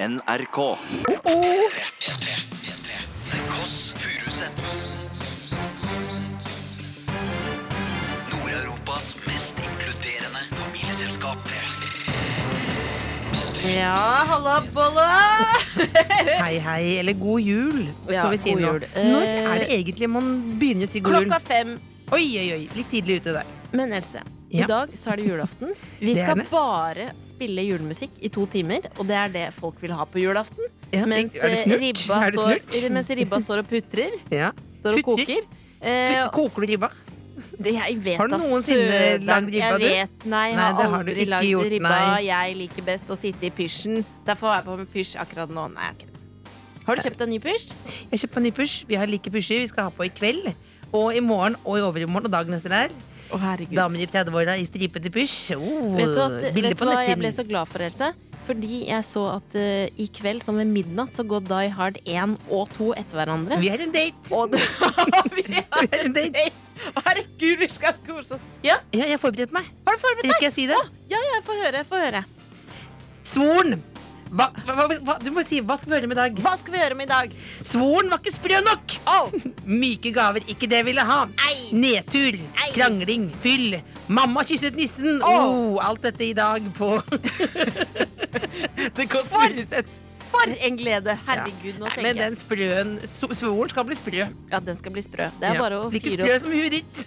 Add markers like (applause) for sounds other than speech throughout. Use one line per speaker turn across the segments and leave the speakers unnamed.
NRK. The Kåss Furuseths. Nord-Europas mest inkluderende familieselskap.
Ja, halla, bolla!
Hei, hei, eller god jul,
Ja,
som vi sier
god
nå.
jul.
Når
Eh,
er det egentlig man begynner å si god
Klokka
jul?
fem.
Oi, oi, oi, litt tidlig ute der.
Men Else,
Ja.
i dag så er det julaften. Vi
Det er
skal
det.
bare spille julemusikk i to timer, og det er det folk vil ha på julaften.
Ja,
Mens,
er det
eh,
snurt?
ribba,
er det snurt?
står, mens ribba står og putrer.
Ja.
Står og
Putter?
koker. Eh,
Putt- Koker du ribba?
det, jeg vet
Har
da
du noensinne
søren,
lagd ribba, du?
Jeg vet, nei, jeg
Nei,
har
det har du
aldri
ikke
lagd
gjort,
ribba.
nei.
Jeg liker best å sitte i pysjen. Derfor er jeg på med pysj akkurat nå. Nei, jeg har ikke det. Har du kjøpt deg ny pysj?
Jeg kjøpte en ny pysj. Vi har like pysjer vi skal ha på i kveld. Og i morgen og i overmorgen og dagen etter der.
Å, herregud.
Damer i 30-åra i stripete pysj. Oh,
Vet du, at,
bilder
vet du
på
hva jeg
nettsiden.
ble så glad for, Else? Fordi jeg så at eh, i kveld, sånn ved midnatt, så går Die Hard 1 og 2 etter hverandre.
Vi har en
(laughs)
date!
Og det vi
(laughs) Vi
har
har en date.
date! Herregud, vi skal kose oss! Ja,
Ja, jeg har forberedt meg.
har du forberedt deg?
Rekker jeg si det?
Ja, ja, få høre. Få høre.
Svoren! Hva, hva, hva, du må si hva skal vi høre med i dag.
Hva skal vi gjøre med i dag?
Svoren var ikke sprø nok! (laughs) Myke gaver, ikke det jeg ville ha.
Ei.
Nedtur, krangling, fyll. Mamma kysset nissen.
Åh.
Oh, alt dette i
(laughs)
dag på Det går furusett.
For en glede!
Ja.
Herregud, nå
Nei,
tenker
Men den sprøen so- Svoren skal bli sprø.
jeg Ja, den skal bli sprø. Det er
Ja.
bare å
Like
fyre
sprø
opp.
som huet ditt.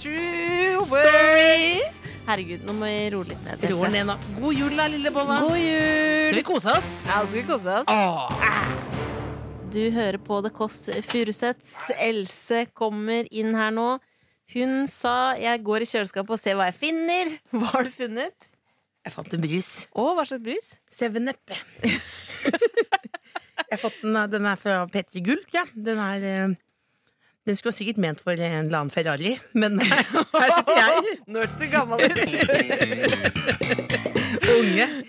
True
Stories.
Herregud, nå må vi roe litt ned. Else.
Roer ned nå. God jul, da, lille bolla.
God
Skal
jul!
vi kose oss?
Ja, skal vi kose oss?
Åh.
Du hører på The Kåss Furuseths. Else kommer inn her nå. Hun sa 'jeg går i kjøleskapet og ser hva jeg finner'. (laughs) Hva har du funnet?
Jeg fant en brus.
Og hva slags brus?
Seven Up. Jeg har fått den, eh, den er fra Petter Gull, ja. Den er eh, Den skulle sikkert ment for en eller annen Ferrari, men (laughs) her sitter jeg,
(laughs) Nå hørtes du gammel ut.
unge.
(laughs)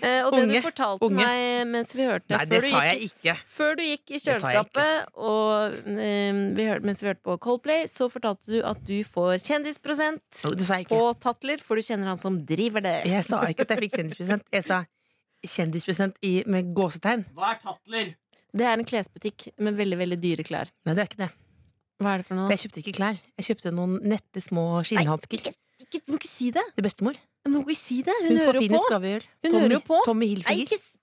Eh, og det du
Unge.
fortalte
Unge.
meg eh, mens vi hørte
Nei,
før,
det
du
sa
gikk,
jeg ikke.
før du gikk i
sa jeg
kjøleskapet, og eh, vi hørte, mens vi hørte på Coldplay, så fortalte du at du får kjendisprosent
Det sa jeg ikke.
på Tatler, for du kjenner han som driver det.
Jeg sa ikke at jeg fikk kjendisprosent. Jeg sa kjendisprosent i, med gåsetegn.
Hva er tatler?
Det er en klesbutikk med veldig, veldig dyre klær.
Nei, det er ikke det.
Hva er det for noe?
For jeg kjøpte ikke klær. Jeg kjøpte noen nette små skinnhansker
Ikke, du må ikke si det!
til bestemor.
Men Hun kan ikke si det. Hun,
Hun,
hører
får
jo
finest
på.
gave i år.
Hun
Tommy-
hører jo på.
Tommy
Nei, ikke
Hilfiger.
s-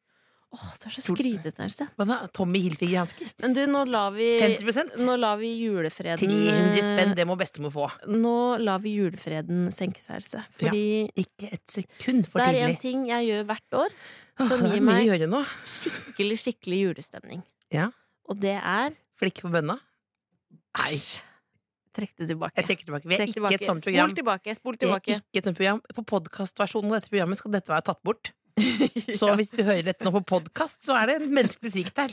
Åh, du er så skrytete, Else.
Hva da? Tommy Hilfiger-hansker.
Men du, nå la vi
50
Nå la vi julefreden
300 spenn, det må bestemor få.
Nå la vi julefreden senke seg, Else. Fordi
Ikke et sekund for
det er en
tidlig.
ting jeg gjør hvert år
Åh,
som
det
gir
er mye å
meg
gjøre nå.
skikkelig, skikkelig julestemning.
Ja.
Og det er
Flikke på bønna. Nei.
Æsj! Trekk det tilbake.
Jeg trekker tilbake. Vi er
Trekk
ikke et sånt
Spol
program.
tilbake. Spol
Vi er
tilbake.
(laughs) ikke et sånt program. På podkastversjonen av dette programmet skal dette være tatt
(laughs)
bort. Så hvis du hører dette nå på podkast, så er det en menneskelig svikt her.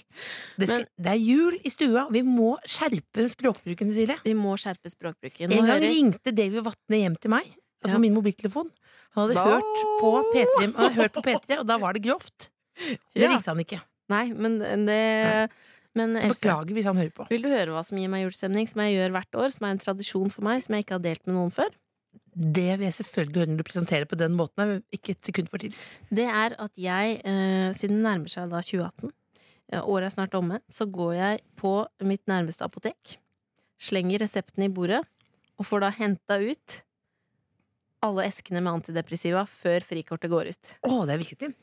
Det, skal, det er jul i stua, og vi må skjerpe språkbruken, Cecilie.
Vi må skjerpe språkbruken. Nå
En gang
hører-
ringte Davy Vatne hjem til meg, altså
Ja.
på min mobiltelefon. Han hadde
Da-
hørt på P3, han hadde hørt på P3 og da var det grovt. Det
Ja.
likte han ikke.
Nei, men det Men
Så
Else,
beklager hvis han hører på.
Vil du høre hva som gir meg julestemning, som jeg gjør hvert år, som er en tradisjon for meg, som jeg ikke har delt med noen før?
Det vil jeg selvfølgelig høre når du presenterer på den måten. men Ikke et sekund for tidlig.
Det er at jeg, eh, siden det nærmer seg da 2018, eh, året er snart omme, så går jeg på mitt nærmeste apotek, slenger resepten i bordet, og får da henta ut alle eskene med antidepressiva før frikortet går ut.
Å, det er viktig.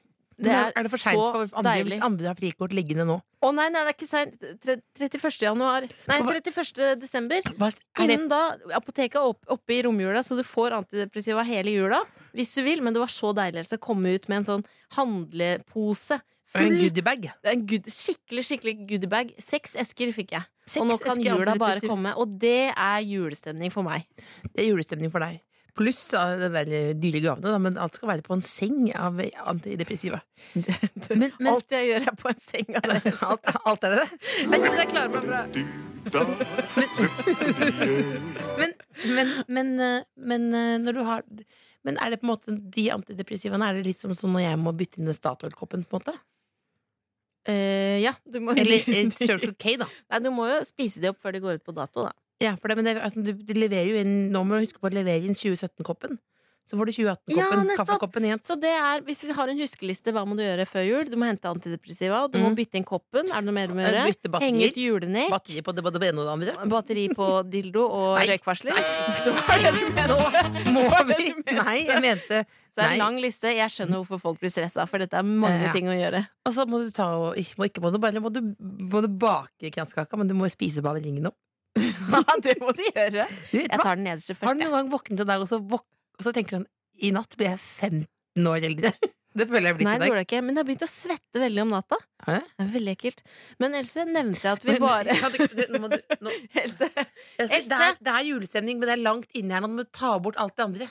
Det
er,
er,
er det for seint
så
for andre
deilig.
hvis andre har frikort liggende nå?
Å nei, nei, det er ikke seint. Tre- 31. januar. Nei, 31. desember.
Hva, er det,
Innen da, Apoteket er opp, oppe i romjula, så du får antidepressiva hele jula. Hvis du vil, Men det var så deilig Else, å komme ut med en sånn handlepose.
er det en
Full,
goodiebag?
en good, skikkelig skikkelig goodiebag. Seks esker fikk jeg.
Seks
og nå kan
esker
jula bare
antidepressiv.
komme. Og det er julestemning for meg.
Det er julestemning for deg. Pluss uh, de der uh, dyre gavene, da, men alt skal være på en seng av uh, antidepressiva. (laughs) Men, men alt,
Alt jeg gjør, er på en seng av det.
(laughs) alt, er det det?
Jeg syns jeg klarer meg bra.
Men, men, men, uh, men uh, når du har men er det på en måte de antidepressivaene Er det litt som sånn når jeg må bytte inn den Statoil-koppen? på en måte?
Eh, ja, du må,
(laughs) Eller
(laughs)
uh, Circle K, da.
Nei, du må jo spise de opp før de går ut på dato, da.
Ja, for det, men det, altså, du, du leverer jo inn, nå må du huske på å levere inn 2017-koppen. så får du
Ja,
2018-koppen,
nettopp.
kaffekoppen igjen.
Så det er, hvis vi har en huskeliste, hva må du gjøre før jul? Du må hente antidepressiva, du må
Mm.
bytte inn koppen, er det noe mer du må
Eh,
gjøre?
bytte batterier.
Henge ut julenek,
Batteri på det, på det ene og det andre.
batteri på dildo og
Nei.
røykvarsler. Det var det du mente.
Nå må
Hva er det
vi
du mener?
Nei, jeg mente
Så det er en
Nei.
lang liste. Jeg skjønner hvorfor folk blir stressa, for dette er mange
Ja.
ting å gjøre.
Og så må du ta og ikke må, ikke må du bare må du, må du bake kransekaka, men du må spise bare ringen om.
(laughs) Ja, det må de gjøre.
Du vet
Jeg
hva?
tar den nederste
Har
først.
du noen gang våknet en dag, og så, våk og så tenker du sånn, I natt blir jeg 15 år eldre. (laughs) Det føler jeg
jeg.
blitt
Nei,
i
det
dag.
gjorde jeg ikke. Men jeg har begynt å svette veldig om natta.
Hæ?
Det er veldig ekkelt. Men Else nevnte jeg at vi
Men- (laughs)
bare
Kan du- du- nå må du- nå-
Else,
Jeg synes det,
Else!
er, det er julestemning, men det er langt inni her. Nå må du ta bort alt det andre.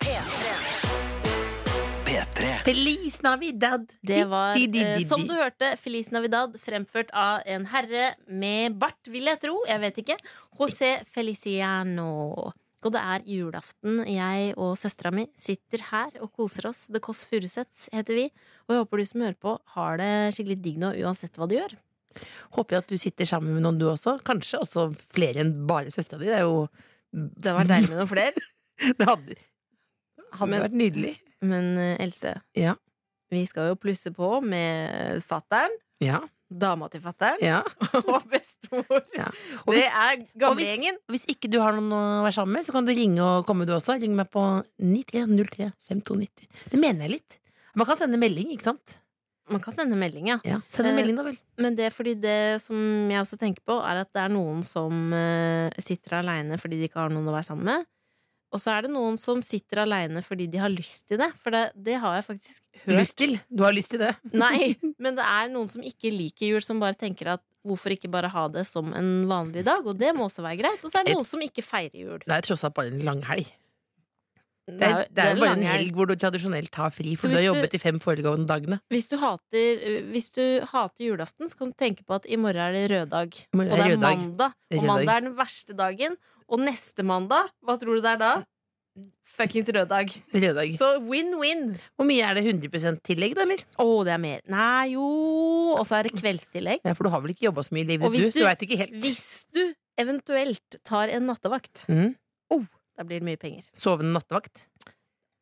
P3
Feliz Navidad!
Det var,
Di- di- di-
eh,
di-
som
di.
du hørte, Feliz Navidad fremført av en herre med bart, vil jeg tro. Jeg vet ikke. José Feliciano. Og det er julaften. Jeg og søstera mi sitter her og koser oss. The Kåss Furuseths heter vi. Og jeg håper du som hører på, har det skikkelig digg nå uansett hva du gjør.
Håper jeg at du sitter sammen med noen, du også. Kanskje også flere enn bare søstera di. Det er jo
Det var deilig med noen flere.
(laughs) Det hadde, hadde
Men-
vært nydelig.
Men eh, Else,
Ja.
vi skal jo plusse på med fattern,
Ja.
dama til fattern
ja.
(laughs) og bestemor.
Ja. Og
Det
hvis-
er
Og hvis,
gamlegjengen.
og hvis ikke du har noen å være sammen med, så kan du ringe og komme, du også. Ring meg på 9303-5290. Det mener jeg litt. Man kan sende melding, ikke sant?
Man kan sende melding, ja.
Ja, Send en
Eh,
melding, da vel.
Men det er fordi det som jeg også tenker på, er at det er noen som eh, sitter aleine fordi de ikke har noen å være sammen med. Og så er det noen som sitter aleine fordi de har lyst til det. For det, det har jeg faktisk hørt.
Lyst til. Du har lyst til det. (laughs)
Nei, men det er noen som ikke liker jul, som bare tenker at hvorfor ikke bare ha det som en vanlig dag? Og det må også være greit. Og så er det noen som ikke feirer jul.
Det er tross alt bare en langhelg.
Det
Det
er-
er, det er jo bare en
langhelg.
helg hvor du tradisjonelt har fri,
Så
for du
hvis
har
du-
jobbet de fem foregående dagene. (laughs)
Hvis du, hater, hvis du hater julaften, så kan du tenke på at i morgen er det rød dag.
I morgen
Og det
er
er
rød dag.
mandag.
Det er
Og
rød
mandag
dag.
er den verste dagen. Og neste mandag, hva tror du det er da? Fuckings rød dag.
Røde dag.
Så win-win.
Hvor mye er det 100 tillegg, da, eller?
Å, det er mer. Nei, jo Og så er det kveldstillegg.
Ja, for du har vel ikke jobba så mye i livet,
Og
du,
hvis
så
du-
du veit ikke helt.
Hvis du eventuelt tar en nattevakt,
Mm.
da blir det mye penger.
Sovende nattevakt.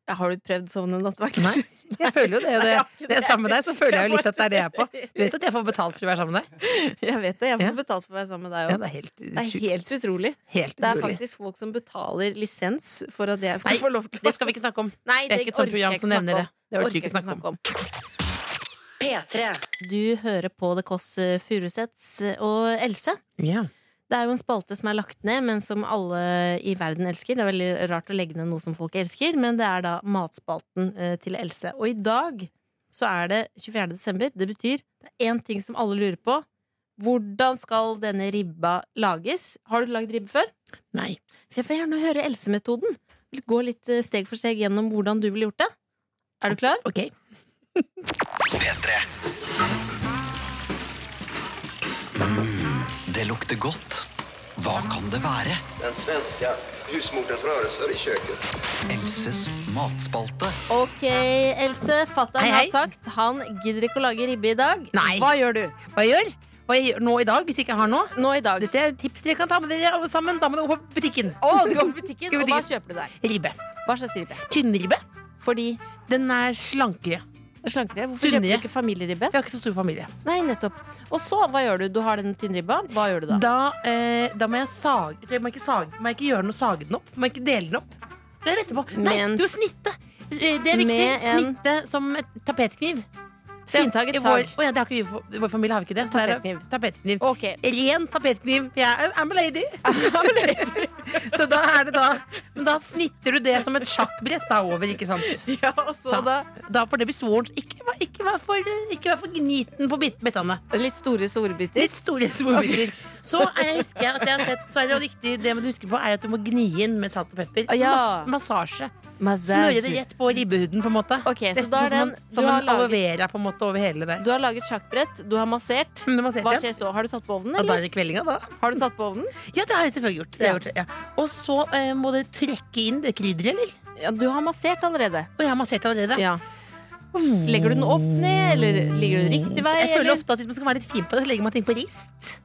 Ja, har du prøvd å sovne nattevakt? (laughs)
Nei. Jeg føler jo det,
Nei,
og det,
jeg har ikke
det er
det.
sammen med deg, så føler jeg jo litt at det er det jeg er på. Du
på.
vet at jeg får betalt for å være sammen med deg?
(laughs) Jeg vet det. Jeg får
Ja.
betalt for å være sammen med deg
Ja,
òg.
det er helt
Det er helt utrolig.
Helt
Det er
utrolig.
faktisk folk som betaler lisens for at jeg skal
Nei,
få lov til
Det skal vi ikke snakke om.
Nei,
Det er ikke et
orker
sånt
jeg
program
ikke
som nevner
snakke
det. Det orker vi ikke snakke om.
P3.
Du hører på The Kåss Furuseths og Else.
Ja.
Det er jo en spalte som er lagt ned, men som alle i verden elsker. Det er veldig rart å legge ned noe som folk elsker, men det er da matspalten eh, til Else. Og i dag så er det 24. desember. Det betyr det er én ting som alle lurer på. Hvordan skal denne ribba lages? Har du lagd ribbe før?
Nei.
For jeg får gjerne høre Else-metoden. Gå litt eh, steg for steg gjennom hvordan du ville gjort det. Er du klar?
Ok.
P3 mm, Det lukter godt Hva kan det være?
Den svenska husmorens rörelser i köket.
Elses matspalte
Ok, Else. Fatter'n
Hei,
har
hei.
sagt han gidder ikke å lage ribbe i dag.
Nei.
Hva gjør du?
Hva jeg gjør? Hva jeg gjør nå i dag, hvis jeg ikke har noe?
Nå i dag.
Dette er tips dere kan ta med dere alle sammen. Da må dere gå på butikken.
Å, du går på butikken,
Gå på
og hva
butikken.
kjøper du der?
Ribbe.
Hva slags ribbe?
Tynnribbe.
Fordi
Den er slankere.
slankere. Hvorfor kjøper
Sunnere.
du ikke familieribbe?
Vi har ikke så stor familie.
Nei, nettopp. Og så, hva gjør du? Du har den tynnribba. Hva gjør du da?
Da, eh, da må jeg sage jeg må, ikke sage må jeg ikke gjøre noe sage den opp? Må jeg ikke dele den opp? Det er det etterpå. Nei,
Med en-
du må snitte! Eh, Det er viktig.
Med en-
Snitte som et tapetkniv.
Fintaget
I vår,
sag.
Å ja, det har ikke vi, på- i vår familie har vi ikke det. Så det er
Tapetkniv.
tapetkniv.
Ok.
Ren tapetkniv. for Jeg er I'm
(laughs)
a lady. så da er det da Men da snitter du det som et sjakkbrett da over, ikke sant?
Ja, og så
Så da, da får det bli svoren. Ikke, vær- ikke, vær for, ikke vær for gniten på bit- bittene.
Litt store sorbiter.
Litt store svorbiter. Så er jeg husker jeg at jeg har sett Så er det jo riktig, det du husker på, er at du må gni inn med salt og pepper.
Å, ja.
Mas massasje.
Massage.
Smøre det rett på ribbehuden, på en måte.
Ok, så
Nesten
da er
som en,
den- du
som
har
en aloe
laget-
vera på en måte over hele der.
Du har laget sjakkbrett, du har massert.
Mm, det masserte
Hva
jeg.
skjer så? Har du satt på ovnen,
Og da
eller?
er det kveldinga, da.
Har du satt på ovnen?
Ja, det har jeg selvfølgelig gjort. Det har jeg
Ja.
gjort ja. Og så eh, må dere trekke inn det krydderet, eller?
Ja, du har massert allerede.
Og jeg har massert allerede.
Ja. Legger du den opp ned, eller ligger du riktig vei?
Jeg føler
eller?
ofte at Hvis man skal være litt fin på det, så legger man ting på rist.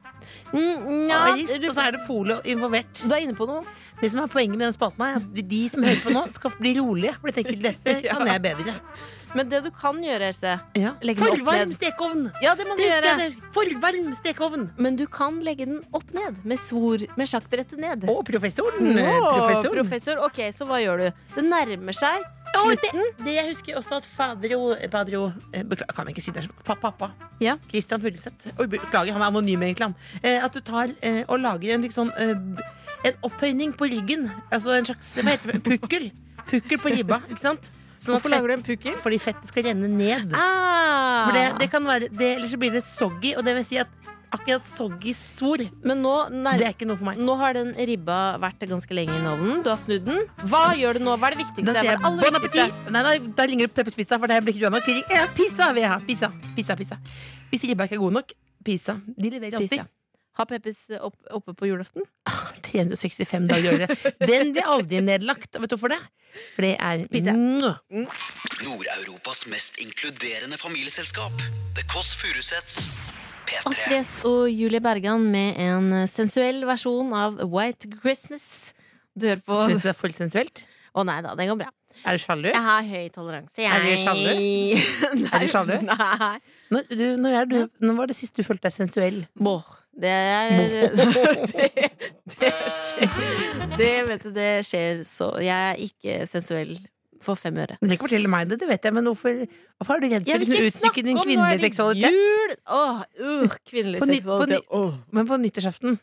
Mm, ja,
Arist, og så er det folie involvert.
du er inne på noe.
Det som er Poenget med den spalten her er at de som hører på nå, skal bli rolige. For de tenker dette
(laughs)
kan jeg bedre.
Men det du kan gjøre, Else Legg den opp
Forvarm
ned.
stekeovn!
Ja, det må du
Det husker
gjøre.
jeg. det- Forvarm stekeovn!
Men du kan legge den opp ned med svor med sjakkbrettet ned.
Og professoren.
Åh,
professoren.
professor. Ok, så hva gjør du? Det nærmer seg
Å,
slutten.
det, det jeg husker også at fadro Padro eh, Beklager, kan jeg ikke si det? Pa, pappa.
Ja.
Christian Fugleseth. Oi, Beklager, han er anonym, egentlig. Han. Eh, at du tar eh, og lager en liksom eh, b- En opphøyning på ryggen. Altså en slags hva heter det? Pukkel. Pukkel på ribba. Ikke sant? Sånn at
Hvorfor lager du en pukkel?
fett- Fordi fettet skal renne ned.
Ah.
For det, det kan være det, Ellers så blir det soggy, og det vil si at akkurat soggy svor,
Men nå, nær...
det er ikke noe for meg.
nå har den ribba vært ganske lenge i ovnen. Du har snudd den. Hva gjør du nå? Hva er det viktigste?
Da
Hva er
sier jeg
det aller
bon
viktigste?
appétit! Nei, da, da ringer du Peppers Pizza, for det her blir ikke du av nok. Ring- Ja, pizza vil jeg ha. Pizza, pizza, pizza. Hvis ribba ikke er god nok, pizza. De leverer alltid.
Pizza. Har Peppes opp, oppe på julaften?
365 dager i året. Den blir aldri nedlagt. Vet du hvorfor det? For det er
Pizza.
Mwah.
Nord-Europas mest inkluderende familieselskap. The Kåss Furuseths.
Astrid
P3.
S og Julie Bergan med en sensuell versjon av White Christmas. Du hører på
Syns du det er for sensuelt?
Å nei da, det går bra.
Er du sjalu?
Jeg har høy toleranse, jeg.
Er du sjalu?
Nei.
Er du sjalu?
(laughs) Nei.
Når, du, når, er du, når var det sist du følte deg sensuell?
Det er (laughs) det, det skjer Det vet du, det skjer så Jeg er ikke sensuell for fem øre.
Du trenger ikke fortelle meg det, det vet jeg, men hvorfor, hvorfor er du redd
Jeg
for
vil
å
ikke
uttrykke liksom din
snakke om nå er
kvinnelige
det
seksualitet?
jul! Åh, uh, kvinnelig
På ny- på ny-
seksualitet. Åh.
Men på nyttårsaften,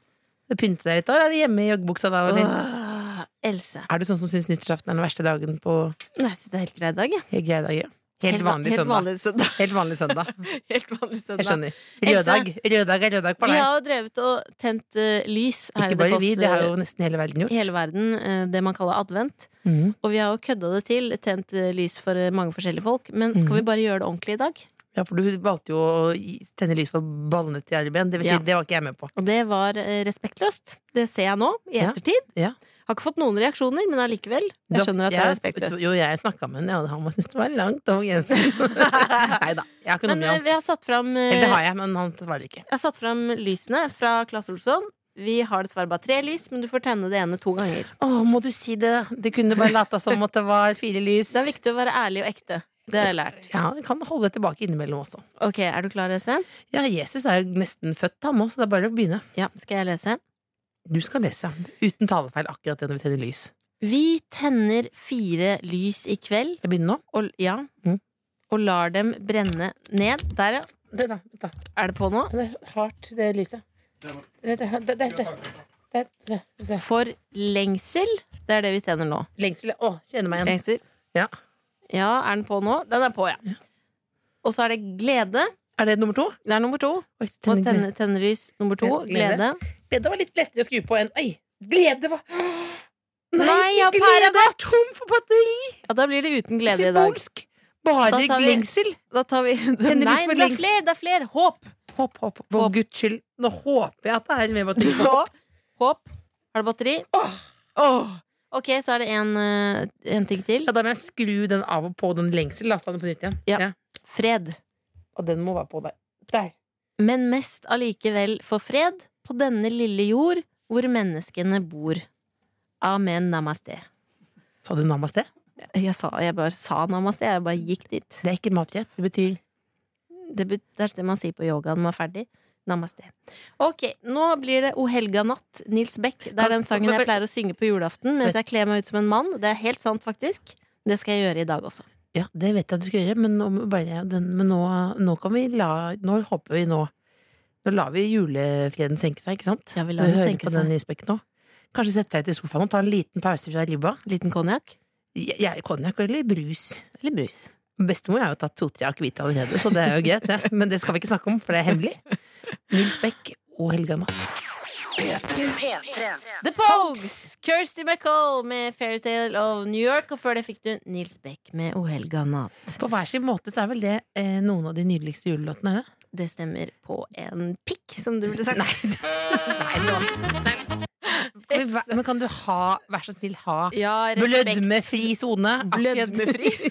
du pynter deg litt da, eller er du hjemme i joggebuksa da? Eller?
Åh, Else.
Er du sånn som syns nyttårsaften er den verste dagen på
Nei, jeg synes det er helt grei dag, jeg.
greie dager? Helt
va-
vanlig
helt
søndag.
vanlig søndag. (laughs)
Helt vanlig søndag.
Helt vanlig
Jeg
søndag.
skjønner.
Else-
Røddag. Røddag er røddag på
Vi
deg.
har jo drevet og tent eh, lys her
Ikke
i
bare vi,
Kåss,
det har jo nesten hele verden
eh,
gjort.
hele verden. eh, Det man kaller advent.
Mhm.
Og vi har jo kødda det til, tent eh, lys for eh, mange forskjellige folk. Men skal
Mhm.
vi bare gjøre det ordentlig i dag?
Ja, for du valgte jo å gi- tenne lys for ballene til Arben. Det vil si,
Ja.
det var ikke jeg med på.
Og det var eh, respektløst. Det ser jeg nå, i
Ja,
ettertid.
ja.
Har ikke fått noen reaksjoner, men allikevel.
Du-
Jeg skjønner at det
Ja,
er respektløst.
Jo, jeg snakka med henne, og han syntes det var langt over (laughs) grensen. Nei da, jeg har ikke noe
Men
med
eh, vi
hans.
har satt fram eh,
Eller det har jeg, men han svarer ikke.
jeg har satt fram lysene fra Claes Olsson. Vi har dessverre bare tre lys, men du får tenne det ene to ganger.
Å, må du si det? Du kunne bare lata som at det var fire lys.
Det er viktig å være ærlig og ekte. Det har jeg lært.
Ja, vi kan holde det tilbake innimellom også.
Ok, Er du klar, Else?
Ja, Jesus er jo nesten født, han òg, så det er bare å begynne.
Ja, skal jeg lese?
Du skal lese. Uten talefeil, akkurat det når vi tenner lys.
Vi tenner fire lys i kveld,
Jeg begynner nå.
og, ja,
Mhm.
og lar dem brenne ned. Der, ja.
Det, da, vent da.
Er det på nå?
Det er hardt, det lyset. Det, det, det, det, det. Det, det, det.
For lengsel. Det er det vi tenner nå.
Lengsel Å, kjenner meg igjen.
Lengsel.
Ja.
Ja, er den på nå? Den er på, ja. Og så er det glede.
Er det nummer to?
Det er nummer to.
Oi,
Og
tenner-
tenne, tennerlys nummer to.
Glede.
Glede.
glede var litt lettere å skru på enn Oi! Glede var
Nei, ja,
glede
Paradox!
er tom for batteri!
Ja, da blir det uten glede i dag.
Symbolsk. Bare
Da tar vi-
lengsel.
Da tar (laughs) vi Nei,
Tennerlys for
det er
leng-
flere! Det er flere! Håp!
Hopp, hopp. For
Hopp.
guds skyld, nå håper jeg at det er med batteri. (laughs)
Håp. Håp. Har du batteri?
Åh.
Åh. Ok, så er det en, eh, en ting til.
Ja, da må jeg skru den av og på den lengsel. La oss ta den på nytt igjen.
Ja. Fred.
Og den må være på der. Der.
Men mest allikevel for fred på denne lille jord hvor menneskene bor. Amen namaste.
Sa du namaste?
Jeg, sa, jeg bare sa namaste, jeg bare gikk dit.
Det er ikke en matrett. Det betyr
Det, bet- det er det man sier på yogaen når man er ferdig. Namaste. Ok, nå blir det O helga natt, Nils Beck. Det
Kan-
er den sangen
men-
jeg pleier å synge på julaften mens jeg kler meg ut som en mann. Det er helt sant, faktisk. Det skal jeg gjøre i dag også.
Ja, det vet jeg at du skal gjøre, men, om bare den, men nå, nå kan vi la Nå håper vi nå Nå lar vi julefreden senke seg, ikke sant?
Ja, vi lar den
hører
senke
på
seg.
den isbekken nå. Kanskje sette seg ut i sofaen og ta en liten pause fra ribba.
Liten konjakk.
Jeg- jeg- Konjakk eller brus?
Eller brus.
Bestemor har jo tatt to-tre akevitt allerede, så det er jo greit, det. Men det skal vi ikke snakke om, for det er hemmelig. Nils Beck og Helga Natt.
The Pogues! Kirsty MacColl med Fairytale of New York. Og før det fikk du Nils Beck med O helga natt.
På hver sin måte så er vel det eh, noen av de nydeligste julelåtene, er det? (laughs)
Det stemmer på en pikk, som du ville sagt.
Nei, det var Kan vi væ- Men kan du ha, vær så snill, ha
Ja, respekt.
blødmefri sone? (laughs)
Blødmefri.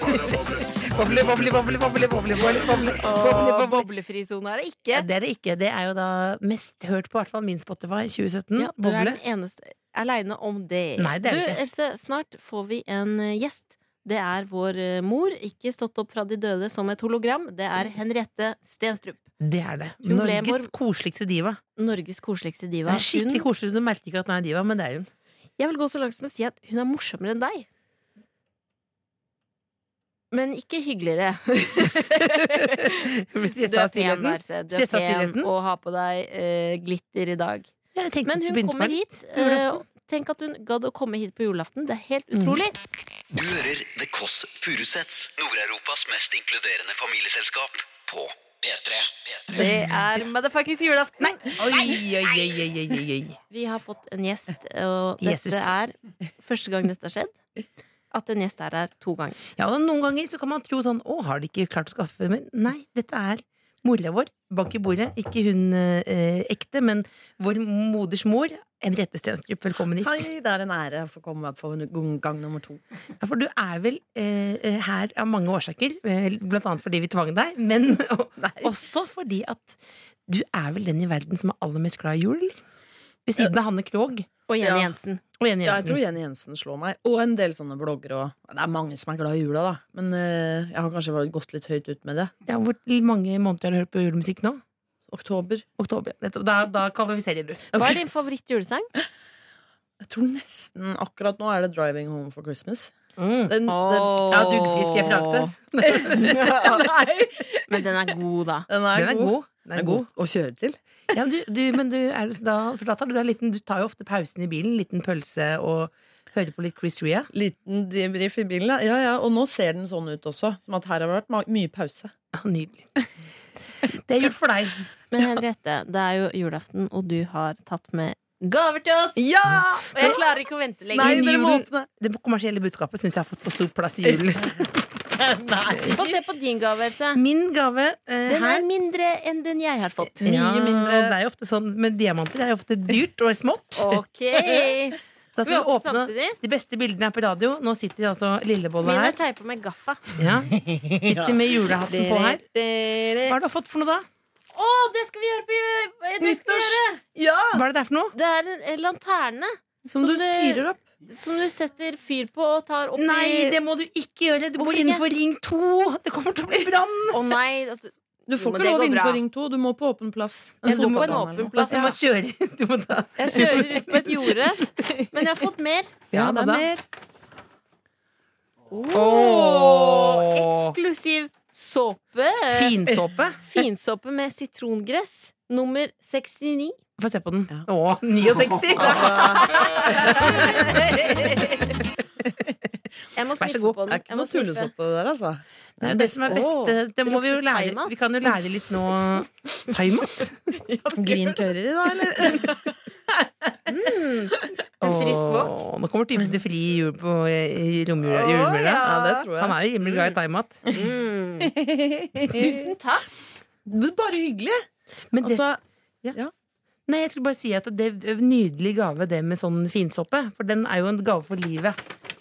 Boble, boble, boble, boble, boble, boble, boble, boble,
Og
boble.
boblefri sone er det
Ja,
ikke.
Det er det ikke. Det er jo da mest hørt på, i hvert fall min Spotify i 2017.
Ja, du er
Boble.
den eneste aleine om det.
Nei, det er det
du,
ikke.
Else, snart får vi en eh, gjest. Det er vår eh, mor, ikke stått opp fra de døde som et hologram. Det er Henriette Stenstrup.
Det er det.
Hun ble
Norges koseligste diva.
Norges koseligste diva.
Hun er skikkelig
Hun,
koselig. Du merker ikke at hun er diva, men det
(laughs)
er hun.
jeg vil gå så langt som å si at hun er morsommere enn deg. Men ikke hyggeligere.
Hun blir
Du
stresset av
er pen,
stillheten.
Verse. Du er
Stresset av
pen
stillheten.
og har på deg eh, glitter i dag.
Ja, jeg tenkte
Men
at du
hun
begynte
kommer
på det.
hit.
På julaften. Mm.
eh, tenk at hun gadd å komme hit på julaften. Det er helt utrolig.
Du hører The Kåss Furuseths, Nord-Europas mest inkluderende familieselskap, på P3.
Det er motherfuckings julaften!
Oi, oi, oi, oi, oi, oi.
Vi har fått en gjest, og dette
Jesus.
er første gang dette har skjedd. At en gjest er her to ganger.
Ja, og noen ganger så kan man tro sånn Å, har de ikke klart å skaffe Men nei, dette er mora vår. Bank i bordet. Ikke hun eh, ekte, men vår moders mor. Henriette Stenstrup, velkommen hit.
Hei, det er en ære å få komme på gang gang nummer to.
Ja, for du er vel eh, eh, her av mange årsaker, eh, blant annet fordi vi tvang deg, men (laughs) og, også fordi at du er vel den i verden som er aller mest glad i jul, eller? Ved siden av Hanne Krogh
Og Jenny
Ja.
Jensen.
og Jenny
Ja, jeg tror
Jensen.
Jenny Jensen slår meg, og en del sånne bloggere. Og det er mange som er glad i jula, da. Men eh, jeg har kanskje vært- gått litt høyt ut med det.
Ja, hvor mange måneder har du hørt på julemusikk nå?
Oktober.
Oktober. ja, nettopp. Da, da kvalifiserer du.
Hva er din favorittjulesang?
Jeg tror nesten akkurat nå er det 'Driving Home for Christmas'.
Mm.
Den, den,
Ja, duggfisk referanse.
Nei!
Men den er god, da.
Den er,
Den er god.
Den er god å kjøre til.
Ja, men du, du, men du, er, jo- da, for da tar du, deg en liten, du tar jo ofte pausen i bilen, liten pølse og hører på litt Chris Rea.
Liten debrief i bilen. ja. Ja, ja. Og nå ser den sånn ut også. Som at her har det vært ma- mye pause.
Ja, Nydelig. Det er jul for deg.
Men Henriette, det er jo julaften, og du har tatt med gaver til oss!
Ja!
Og jeg klarer ikke å vente lenger.
Nei, dere må
julen-
åpne.
Det kommersielle budskapet syns jeg har fått for stor plass i julen.
Nei.
Få se på din gave, Else.
Min gave eh,
Den
her
er mindre enn den jeg har fått.
mye mindre.
og Det er jo ofte sånn med diamanter. Det er jo ofte dyrt og smått.
(laughs) Ok!
Da
Skal vi
skal
åpne
vi åpne
samtidig?
De beste bildene er på radio. Nå sitter altså Lillebolla
Min er
her.
teipa med gaffa.
Ja. Sitter med julehatten på her. Hva
Å,
har du fått for noe, da?
det skal vi gjøre på jul- det skal vi
Nyttårs.
gjøre!
Ja!
Hva er det der for noe?
Det er en, en lanterne
Som,
Som
du
det-
styrer opp.
som du setter fyr på og tar opp
Nei,
i
det må du ikke gjøre! Du må
Hvorfor
innenfor ring to! Det kommer til å bli brann!
Å nei, at,
Du
Jo,
får
men
ikke
det
lov
går
innenfor
bra.
ring 2. Du må på åpen plass.
jeg sto på en
sopebanen eller
åpen
noe.
plass.
Du må kjøre. Du må ta
Jeg kjører ut på et jorde, men jeg har fått mer.
Ja,
det er
mer.
Åh, Eksklusiv såpe.
(laughs) Finsåpe.
Finsåpe med sitrongress. Nummer 69.
Få se på den.
Ja.
Å, 69!
Altså,
Jeg må
Vær så
sniffe
god.
på
det
den.
er
Jeg
ikke
må
noe
sniffe.
tullesopp på det der, altså.
Det er jo det som er best.
Åh,
eh, Det må vi jo
lukter
lære.
thaimat.
Vi kan jo lære litt nå Thaimat?
Grin (laughs) tørrer i, da, eller?
En frisk våk.
Åh, Nå kommer typen til fri i jul på eh, i romjula.
Åh,
i romjula.
ja.
Ja, det tror
Han
jeg.
er jo himmelig glad i thaimat.
Mm. Tusen takk.
Det er Bare hyggelig.
Men det,
Altså,
nei, jeg skulle bare si at det er en nydelig gave, det med sånn finsåpe. For den er jo en gave for livet.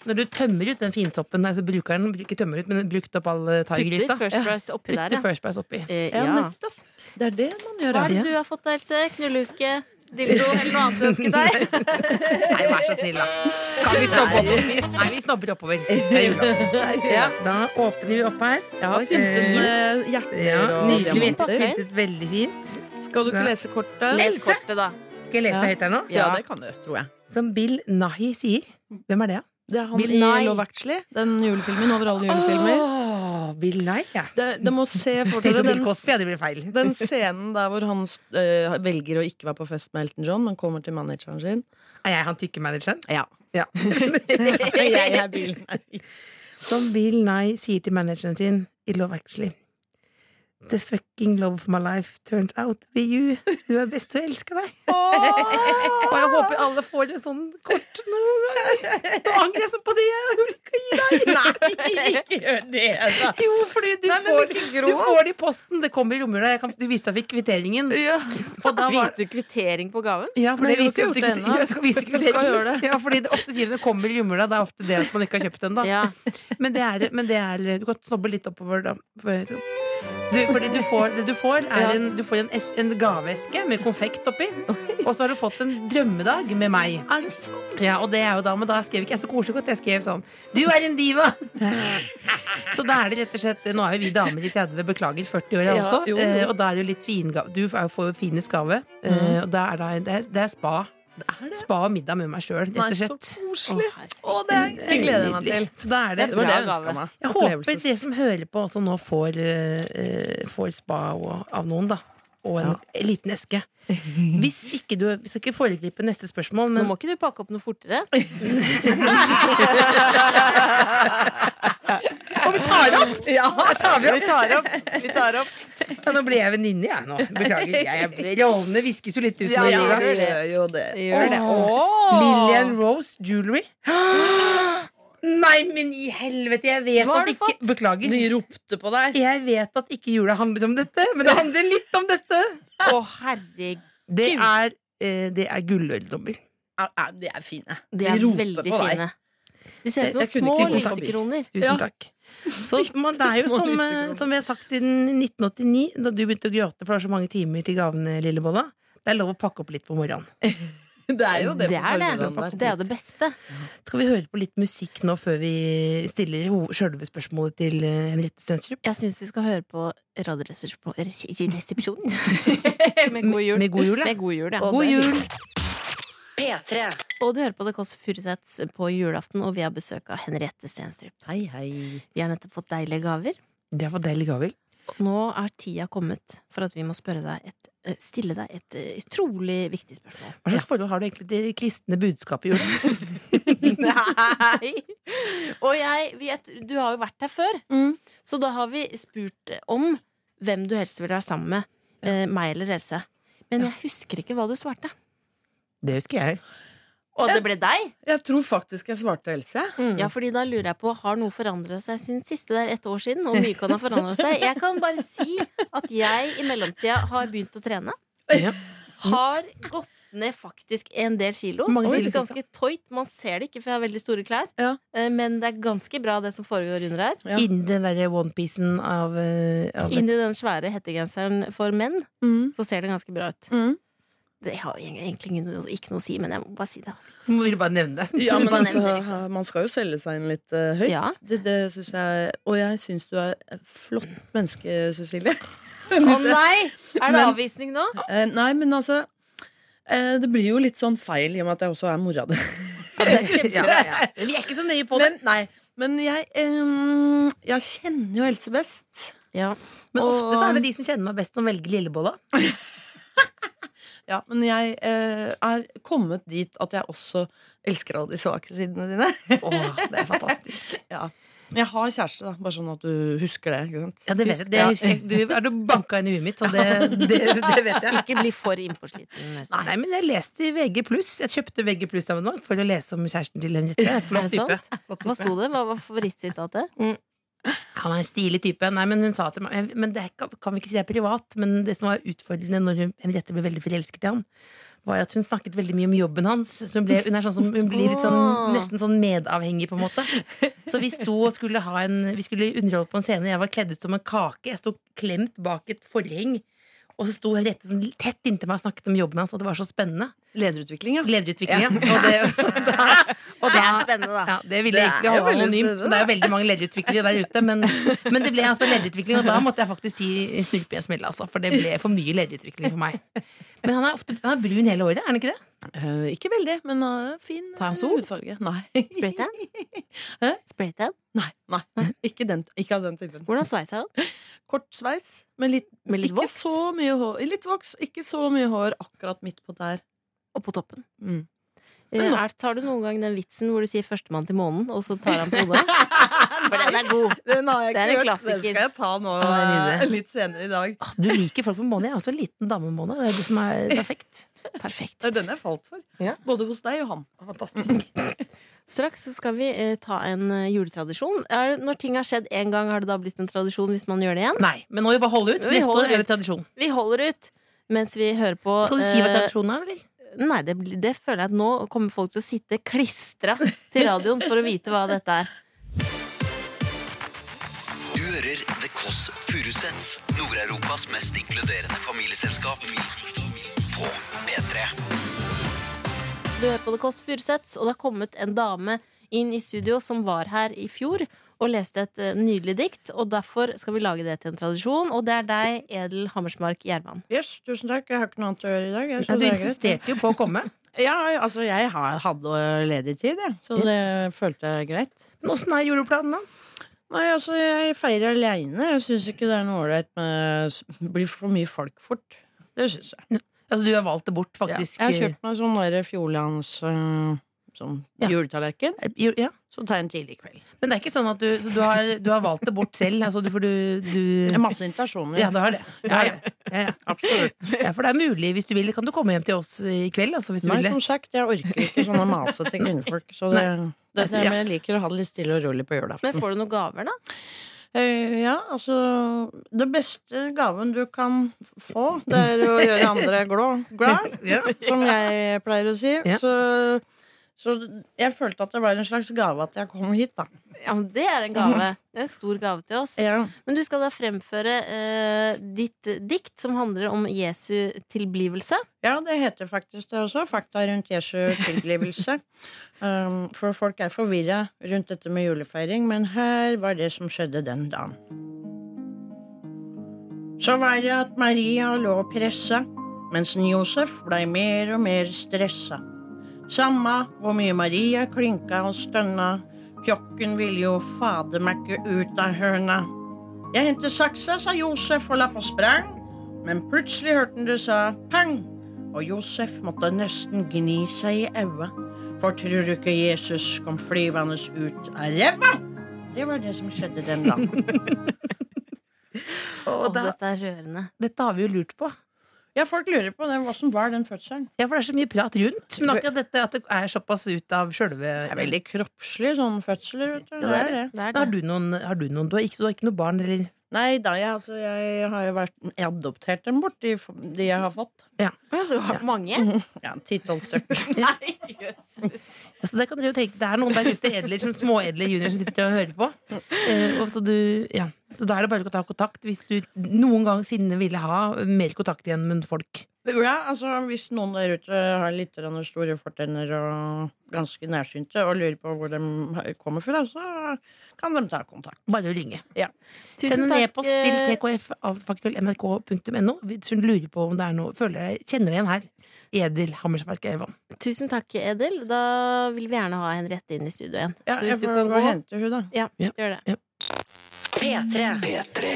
Når du tømmer ut den finsoppen, altså bruker den, ikke tømmer ut, men brukt opp all eh,
Putter
thaigryta.
First Price oppi der,
Putter
ja.
First Price oppi.
Eh,
ja,
ja.
nettopp. Det er det man gjør.
Hva er det
ja.
du har fått der, Else? Knullehuske? Dildo eller noe annet du ønsker
(laughs)
deg?
Nei, vær så snill, da. Kan vi snobbe oppover? Nei, vi snobber
(laughs)
oppover. Det er jula.
Ja.
Da åpner vi opp her.
Jeg har
Oi, så
pyntet med
Ja,
hjerter og
Nydelig.
diamanter.
Pyntet veldig fint.
Skal du ikke lese kortet?
Les kortet, da.
Skal jeg lese det høyt her nå?
Ja, det kan du, tror jeg.
Som Bill Nahi sier. Hvem er det, da?
Det er han
Bill
i
Nye.
Love Actually. Den julefilmen over alle julefilmer.
Åh, Ah, Bill Nahi, ja.
Det, det må se for
Tenk
dere
om (laughs) Bill
den,
Cosby, ja, det blir feil.
den scenen der hvor han øh, velger å ikke være på fest med Elton John, men kommer til manageren sin.
Er jeg han tykke manageren?
Ja.
Ja.
(laughs) Jeg er bilen.
Som Bill Nye sier til manageren sin i Love Actually. The fucking love of my life turns out to be you. Du er best og elsker deg. (laughs) og jeg håper alle får en sånn kort noen gang. Nå angrer jeg så på det jeg gjorde.
Nei, (laughs) ikke gjør det, altså. da!
Jo, fordi du,
Nei, men
får,
ikke
du
gråt.
får det i posten. Det kommer i romjula. Jeg kan- Du viste at jeg fikk kvitteringen. Og da var
Viste du kvittering på gaven?
ja, for
Nei,
det
vi har
viser
ikke
jo
gjort det
ikke-
ennå.
(laughs) Jeg skal vise
skal
kvitteringen.
gjøre
(laughs)
det.
Ja, fordi det ofte sier det kommer i jumla. Det er ofte det at man ikke har kjøpt den, da.
Ja.
(laughs) Men det er, men det er Du kan snobbe litt oppover, da. Du, fordi du får, det du får, er
Ja.
en, du får en, es, en gaveeske med konfekt oppi. Og så har du fått en drømmedag med meg.
Er det sant?
Ja, og det er jo da, Men da skrev ikke jeg så koselig godt. Jeg skrev sånn Du er en diva! (laughs) Så da er det rett og slett Nå er jo vi damer i 30, beklager 40 år jeg
Ja,
også.
jo, jo.
eh, Og da er det jo litt fingave. Du er jo- får jo finest gave. eh, Og da er det, en- det, er, det er spa.
Er Mm. det?
Spa og middag med meg sjøl, rett
Nei,
og
så
slett.
koselig.
Å, herregud.
Å, det, er, det gleder jeg meg til.
Så da er det
Det var det jeg
Bra
ønska
gave.
meg.
jeg håper
Opplevelses-
de som hører på, også nå får, eh, eh, får spa og, av noen, da. Og en liten eske. Hvis ikke du Vi skal ikke foregripe neste spørsmål,
Nå
men
må ikke du pakke opp noe fortere.
Og vi tar opp! (laughs)
Ja, tar vi opp.
Ja, nå blir jeg venninne, jeg nå. Beklager. Jeg,
(laughs)
jeg, rollene viskes jo litt ut.
Ja,
nå,
ja,
Liva.
vi gjør jo det.
Gjør det.
Åh, Lillian Rose Jewelry. (gasps) Nei, men i helvete! Jeg vet
Hva har
at
du
ikke
fått?
Beklager.
De ropte på deg.
Jeg vet at ikke jula handler om dette, men det handler litt om dette.
Å, herregud.
Det er, eh, det er gulløredommer.
Ja, ja, De er fine.
De er veldig fine. De ser ut som
Jeg kunne
små
ikke
si takk.
lysekroner.
Tusen
Ja.
takk. Så man, det er jo
Små
som, eh,
lysekroner.
som vi har sagt siden 1989, da du begynte å gråte for det var så mange timer til gavene, Lillebolla. Det er lov å pakke opp litt på morgenen.
Det er jo det.
Det
på
er det.
formiddagen der.
Det er det beste.
Skal vi høre på litt musikk nå før vi stiller ho- sjølve spørsmålet til eh, Henriette Stensrup?
Jeg syns vi skal høre på Radioresepsjonen. (laughs) Med god jul.
Med god jul, ja.
Med god jul, ja.
God jul!
P3.
Og du hører på The Kåss Furuseths på julaften, og vi har besøk av Henriette Stenstrup.
Hei, hei.
Vi har nettopp fått deilige gaver.
Det var deilig gavel.
Og Nå er tida kommet for at vi må spørre deg et, eh, stille deg et eh, utrolig viktig spørsmål.
Hva slags forhold har du egentlig til det kristne budskapet i jula?
(laughs) (laughs)
(laughs)
Nei! Og jeg vet Du har jo vært her før,
Mm.
så da har vi spurt om hvem du helst ville være sammen med. Eh, meg eller Else. Men jeg husker ikke hva du svarte.
Det husker jeg.
Og det ble deg!
Jeg tror faktisk jeg svarte Else.
Ja, fordi da lurer jeg på, har noe forandret seg siden siste der ett år siden? Og mye kan ha forandret seg. Jeg kan bare si at jeg i mellomtida har begynt å trene.
Ja.
Har gått ned faktisk en del kilo.
Hvor mange
og
kilo
det er ganske tøyt. Man ser det ikke, for jeg har veldig store klær.
Ja.
Eh, Men det er ganske bra, det som foregår under her.
Ja.
Innen den derre onepiecen av, eh, av
Inni den svære hettegenseren for menn, så ser det ganske bra ut.
Mm.
Det har jo egentlig ikke noe, ikke noe å si, men jeg må bare si det.
Jeg Ville bare nevne det.
Ja, men
Bare
altså,
nevner, liksom.
man skal jo selge seg inn litt eh, høyt.
Ja.
Det, det synes jeg, og jeg syns du er et flott menneske, Cecilie.
Å nei! Er det
Men-
avvisning nå?
Eh, nei, men altså eh, Det blir jo litt sånn feil i og med at jeg også er mora di. (laughs)
(laughs) Ja. Vi er ikke så nøye på det.
Men, nei, men jeg, eh, jeg kjenner jo Else best.
Ja.
Men
Og-
ofte så er det de som kjenner meg best, som velger Lillebolla.
Ja, men jeg eh, er kommet dit at jeg også elsker alle de svake sidene dine. (laughs)
Åh, det er fantastisk.
Ja. Men jeg har kjæreste, da. Bare sånn at du husker det. ikke sant?
Ja, det vet jeg. Det husker jeg. Du har du banka inn i huet mitt, så det, det, det vet jeg.
Ikke bli for innpåsliten. Else.
Nei, men jeg leste i VG+. Jeg kjøpte VG+, av en gang for å lese om kjæresten til Henriette. Flott
Er det
type.
sant? Hva sto det? Hva var favorittsitatet?
Han er en stilig type. Nei, men hun sa til meg Men det kan kan vi ikke si det er privat. Men det som var utfordrende når hun, Henriette ble veldig forelsket i ham, var at hun snakket veldig mye om jobben hans. Så hun, ble, hun er sånn som hun blir litt sånn,
Åh.
nesten sånn medavhengig, på en måte. Så vi sto og skulle ha en Vi skulle underholde på en scene. Jeg var kledd ut som en kake. Jeg sto klemt bak et forheng. Og så sto Henriette sånn tett inntil meg og snakket om jobben hans, og det var så spennende.
Lederutvikling, ja.
Lederutviklinga. Og det, og da, og da,
spennende,
ja, det ville
Det
jeg
er
egentlig
jo
holde
veldig
anonymt.
spennende.
Det er jo veldig mange lederutviklere der ute, men, men det ble altså lederutvikling, og da måtte jeg faktisk si snurpe i en smell, altså. For det ble for mye lederutvikling for meg. Men han er ofte han er brun hele året, er han ikke det?
Eh, ikke veldig, men eh, fin
Tar han
eh,
sol?
hudfarge. (laughs) Nei.
(laughs) Spray tan?
Hæ?
Spray tan?
Nei, nei. Ikke, den, ikke av den typen.
Hvordan sveisa han?
Kort sveis, men litt,
Med litt
ikke
voks?
så mye hår. Litt voks, ikke så mye hår akkurat midt på der.
Og på toppen. Eh, Er, tar du noen gang den vitsen hvor du sier 'førstemann til månen', og så tar han på
(laughs)
hodet? For den er god!
Den har (laughs) jeg
Det er en
ikke hørt.
klassiker.
Den skal jeg ta nå
Ja, det er en idé.
eh, litt senere i dag.
Ah, Du liker folk med måne. Jeg er også en liten dame med måne. Det er det som er perfekt.
Perfekt.
Det er den jeg falt for.
Ja.
Både hos deg og han. Fantastisk.
Straks så skal vi eh, ta en eh, juletradisjon. Er, det- når ting har skjedd én gang, har det da blitt en tradisjon hvis man gjør det igjen?
Nei, men nå må vi bare holde ut.
Vi
Neste
holder
år er
ut.
det tradisjon.
Vi holder ut mens vi hører på
Skal du si hva
eh,
tradisjonen er, eller?
Nei, det, blir- det føler jeg at nå kommer folk til å sitte klistra til radioen for å vite hva dette er.
Du hører The Kåss Furuseths, Nord-Europas mest inkluderende familieselskap. På P3.
Du hører på The Kåss Furuseths, og det har kommet en dame inn i studio som var her i fjor og leste et eh, nydelig dikt, og derfor skal vi lage det til en tradisjon, og det er deg, Edel Hammersmark Gjerman.
Yes, tusen takk. Jeg har ikke noe annet å gjøre i dag. Jeg
Ja, du insisterte jo på å komme.
Ja, altså jeg har- hadde ledig tid, jeg. Så det følte jeg er greit.
Men åssen er juleplanen, da?
Nei, altså jeg feirer aleine. Jeg syns ikke det er noe ålreit med s- Blir for mye folk fort. Det syns jeg.
Altså, du har valgt det bort, faktisk.
Jeg har kjøpt meg sånn derre Fjordlands eh, sånn
Ja.
juletallerken.
Eh, Jul- ja.
Så tar jeg en tidlig kveld.
Men det er ikke sånn at du, så du, har, du har valgt det bort selv? Altså, du, for du,
Det
du
er Masse invitasjoner.
Ja, du har det. Ja, ja. Ja, ja.
(laughs) Absolutt.
ja, for det er mulig. Hvis du vil, kan du komme hjem til oss i kveld. Altså, hvis du
Nei,
vil det.
som sagt, jeg orker ikke sånn sånne masete kvinnfolk. Så det, det,
Altså, ja.
men jeg liker å ha det litt stille og rolig på julaften.
Men får du noen gaver, da?
Eh, Ja, altså Det beste gaven du kan få, det er å gjøre andre glå- glad,
(laughs) Ja.
som jeg pleier å si.
Ja.
Så, så jeg følte at det var en slags gave at jeg kom hit, da.
Ja, men det er en gave. (laughs) Det er en stor gave til oss.
Ja.
Men du skal da fremføre eh, ditt dikt som handler om Jesu tilblivelse.
Ja, det heter faktisk det også. Fakta rundt Jesu tilblivelse. Um, for folk er forvirra rundt dette med julefeiring, men her var det som skjedde den dagen. Så var det at Maria lå pressa, mens Josef blei mer og mer stressa. Samma hvor mye Maria klinka og stønna, pjokken ville jo fademække ut av høna. Jeg henter saksa, sa Josef og la på sprang, men plutselig hørte han det sa pang og Josef måtte nesten gni seg i øya. For tror du ikke Jesus kom flyvende ut av ræva? Det var det som skjedde den dagen.
Og
da-
dette er rørende.
Dette har vi jo lurt på.
(laughs) ja, folk lurer på det. Hva som var den fødselen.
Ja, for det er så mye prat rundt. Men akkurat dette at det er såpass ut av sjølve
Det er veldig kroppslig sånn fødsler, vet du.
Ja, det er
det.
Det er
har
det.
du, noen, har du noen? Du har ikke, du har ikke noe barn, eller?
Nei da, jeg, altså, jeg har jo vært jeg adoptert dem bort, de, de jeg har fått.
Ja, Mhm. Du har mange?
Ja, Ti-tolv stykker.
Nei, jøss.
Altså, det kan dere jo tenke Det er noen der ute, edler, som småedle junior, som sitter og hører på. Eh, og så du, ja. Så da er det bare å ta kontakt hvis du noen gang sinne ville ha mer kontakt igjen med folk.
Ja, altså, hvis noen der ute har litt grann store fortenner og ganske nærsynte og lurer på hvor de kommer fra, så kan de ta kontakt.
Bare å ringe. Send
Tusen
en
takk. eh,
e-post til tkf.nrk.no hvis hun lurer på om det er noe Føler deg, Kjenner deg igjen her. Edel Hammersverk Evan.
Tusen takk, Edel. Da vil vi gjerne ha Henriette inn i studio igjen.
Ja,
så
jeg
hvis du
får
kan
gå
gå,
og hente hun, da.
ja,
Ja.
gjør det.
P3.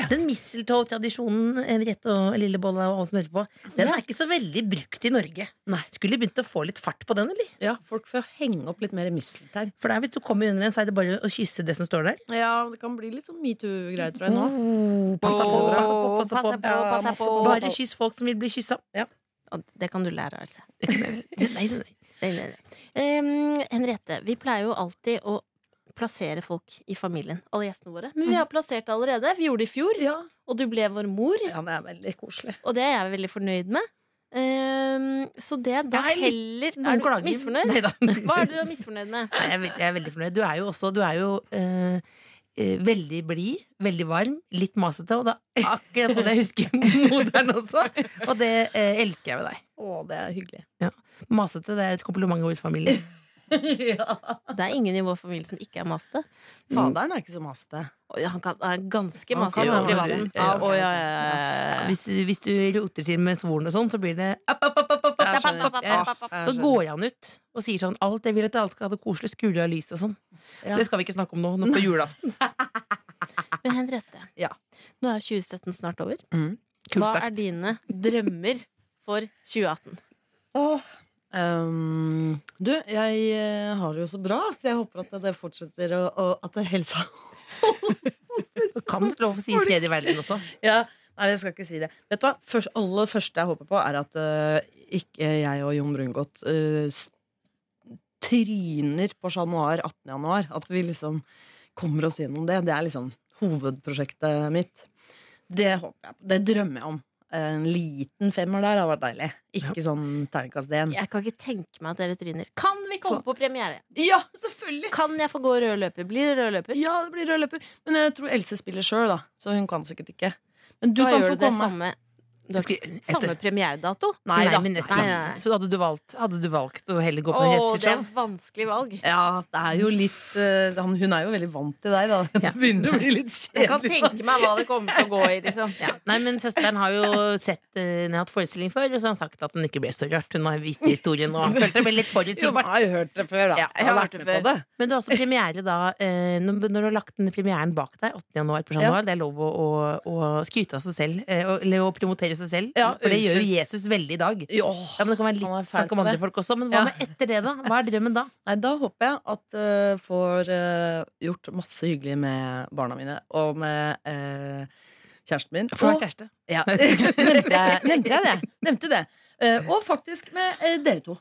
Den mistletoe-tradisjonen Henriette og Lillebolla og alle som hører på, den er ikke så veldig brukt i Norge. Nei. Skulle begynt å få litt fart på den, eller?
Ja, folk får henge opp litt mer misteltein.
For det er hvis du kommer under en, så er det bare å kysse det som står der.
Ja, det kan bli litt sånn metoo-greier, tror jeg nå.
Oh, passe på,
Åh,
passe på, passe på.
passe på,
Ja,
passe
masse
på.
Bare kyss folk som vil bli kyssa. Ja.
Og Det kan du lære, altså.
Nei, nei, nei.
Det, det, det. Em, Henriette, vi pleier jo alltid å plassere folk i familien. Alle gjestene våre. Men vi har plassert det allerede. Vi gjorde det i fjor.
Mm. Ja.
Og du ble vår mor,
ja, det er veldig koselig.
og det er jeg veldig fornøyd med. Em, så det da
Jeg er
heller
Noen
Er du
klager.
misfornøyd?
Neida. (laughs)
Hva er du misfornøyd med?
Nei, jeg, er veld- jeg er veldig fornøyd. Du er jo også du er jo, eh, eh, veldig blid, veldig varm, litt masete. Og det er akkurat sånn jeg husker (laughs) moderen også. Og det eh, elsker jeg ved deg.
Å, det er hyggelig.
Masete det er et kompliment i vår familie.
Det er ingen i vår familie som ikke er maste.
Faderen er ikke så masete.
Oi, Han kan, han er ganske
Han
masete
kan
over i
være
vannet.
masete, ja.
Å, ja, ja, ja, ja.
Hvis, hvis du roter til med svoren og sånn, så blir det app, app, app, app, app, app,
Jeg
app, app,
skjønner.
app,
Ja,
app.
jeg
Så
skjønner.
går han ut og sier sånn Alt jeg vil at alle skal ha det koselig, skru av lyset og sånn.
Ja.
Det skal vi ikke snakke om nå, nå (laughs) på julaften.
Men Henriette,
Ja.
nå er 2017 snart over.
Mm.
Kult
Hva
sagt.
er dine drømmer for 2018?
Åh, Ehm, du, jeg eh, har det jo så bra, så jeg håper at det fortsetter, og, og at det helsa
Du kan få lov å si fred i verden også.
ja, Nei, jeg skal ikke si det. Vet du hva? Først, aller første jeg håper på, er at eh, ikke jeg og Jon Brungot eh, s- tryner på Chat Noir 18. januar. At vi liksom kommer oss gjennom det. Det er liksom hovedprosjektet mitt. Det håper jeg på. Det drømmer jeg om. En liten femmer der hadde vært deilig. Ikke sånn terningkast én.
Jeg kan ikke tenke meg at dere tryner. Kan vi komme på premiere?
Ja, selvfølgelig!
Kan jeg få gå rød løper? Blir det rød løper?
Ja, det blir rød løper. Men jeg tror Else spiller sjøl, da. Så hun kan sikkert ikke. Men du
da
kan
gjør
få
du det
komme.
samme, du har
Skal-
ikke
etter-
samme premieredato.
Nei da.
men jeg skal-
Nei, nei, nei.
Så hadde du valgt, hadde du valgt å heller gå på
Å, det er
helseshow?
vanskelig
(laughs)
valg.
Ja, det er jo litt eh, han, Hun er jo veldig vant til deg, da. (laughs) Det begynner å bli litt
Jeg kan
kjedelig.
tenke meg hva det kommer til å gå i, liksom.
Nei, men søsteren har jo sett eh, Hun har hatt forestilling før, og så har hun sagt at hun ikke ble så rørt. Hun har visst historien og følte det ble litt
Jo, men
forutsigbart.
jeg har jo hørt det før, da.
Ja,
jeg har vært med på det.
Men du har også premiere da eh, Når når du har lagt denne premieren bak deg, 8. januar på Chat
Ja.
Noir, det er lov å, å, å skryte av seg selv, eh, og- eller å promotere seg selv,
Ja,
for det gjør jo
unnskyld.
Jesus veldig i dag.
Jo.
Ja, men det kan være
Han er
litt
fæl
snakk om
på det.
andre folk også, men hva
Ja.
med etter det, da? Hva er drømmen da?
Nei, da håper jeg at jeg får eh, gjort masse hyggelig med barna mine og med eh, kjæresten min.
For å
og,
ha kjæreste.
(laughs) ja. nevnte, jeg, nevnte jeg det? Nevnte det. Eh, og faktisk med eh, dere to.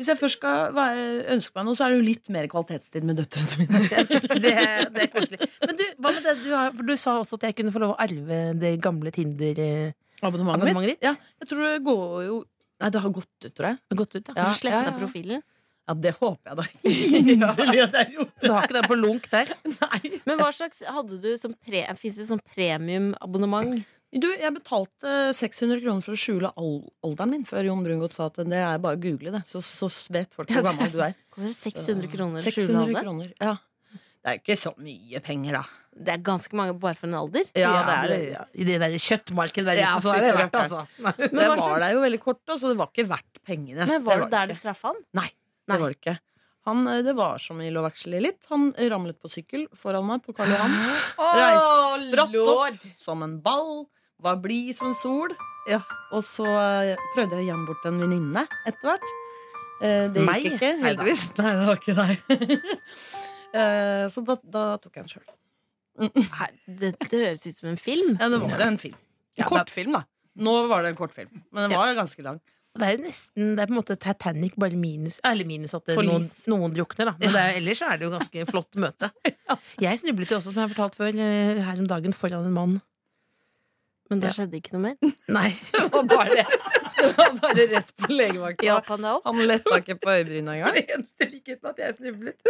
Hvis jeg først skal være, ønske meg noe, så er det jo litt mer kvalitetstid med døtrene mine.
Det, det er koselig. Men du, hva med det? Du, har, for du sa også at jeg kunne få lov å arve det gamle Tinder eh, abonnementet ditt.
Ja, jeg tror det går jo Nei, det har gått ut, tror jeg.
Gått ut, ja.
Ja.
Du sletter
ja.
profilen.
Ja, det håper jeg (laughs) da inderlig at jeg gjorde.
Du har ikke den på lunk der?
Nei.
Men hva slags hadde du som pre, Fins det sånn premiumabonnement?
Du, jeg betalte 600 kroner for å skjule al alderen min før Jon Brungot sa at det er bare å google det, så, så vet folk hvor gammel (laughs) du er.
Koster det 600 kroner? å skjule
600
alder?
kroner, ja. Det er ikke så mye penger, da.
Det er ganske mange bare for en alder.
ja. I det der kjøttmarkedet der ute,
Ja,
så er det
fytti
verdt det,
rakkeren.
altså.
Men hva
(laughs) Men jeg var
slags-
der jo veldig kort, da, så det var ikke verdt pengene.
Men var det
det
der du
ikke.
traff han?
Nei, det var det ikke. Han, eh, det var som i Love Actually litt. Han ramlet på sykkel foran meg på Karl (gasps) Johan. Reist, spratt opp som en ball, var blid som en sol. Ja. Og så eh, prøvde jeg å gjemme bort en venninne etter hvert. Eh, Det gikk
Meg?
ikke,
Neida.
heldigvis. (laughs) Nei, det var ikke deg. (laughs) Eh, Så da, da tok jeg den sjøl.
Her, det, det høres ut som en film.
Ja, det var en film.
Ja,
En kortfilm, da. Nå var det en kortfilm, men den var ganske lang.
Det er jo nesten Det er på en måte Titanic, bare minus Eller minus at det,
Forlis.
noen, noen drukner, da. Men det er, ellers så er det jo ganske flott (laughs) møte. Jeg snublet jo også, som jeg har fortalt før, eh, her om dagen foran en mann.
Men da
Ja.
skjedde ikke noe mer.
(laughs) Nei.
Det var bare, det var bare rett på legevakta.
Hjalp han deg opp?
Han letta ikke på øyebryna
(laughs)
engang.
Det eneste likheten at jeg snublet.
(laughs)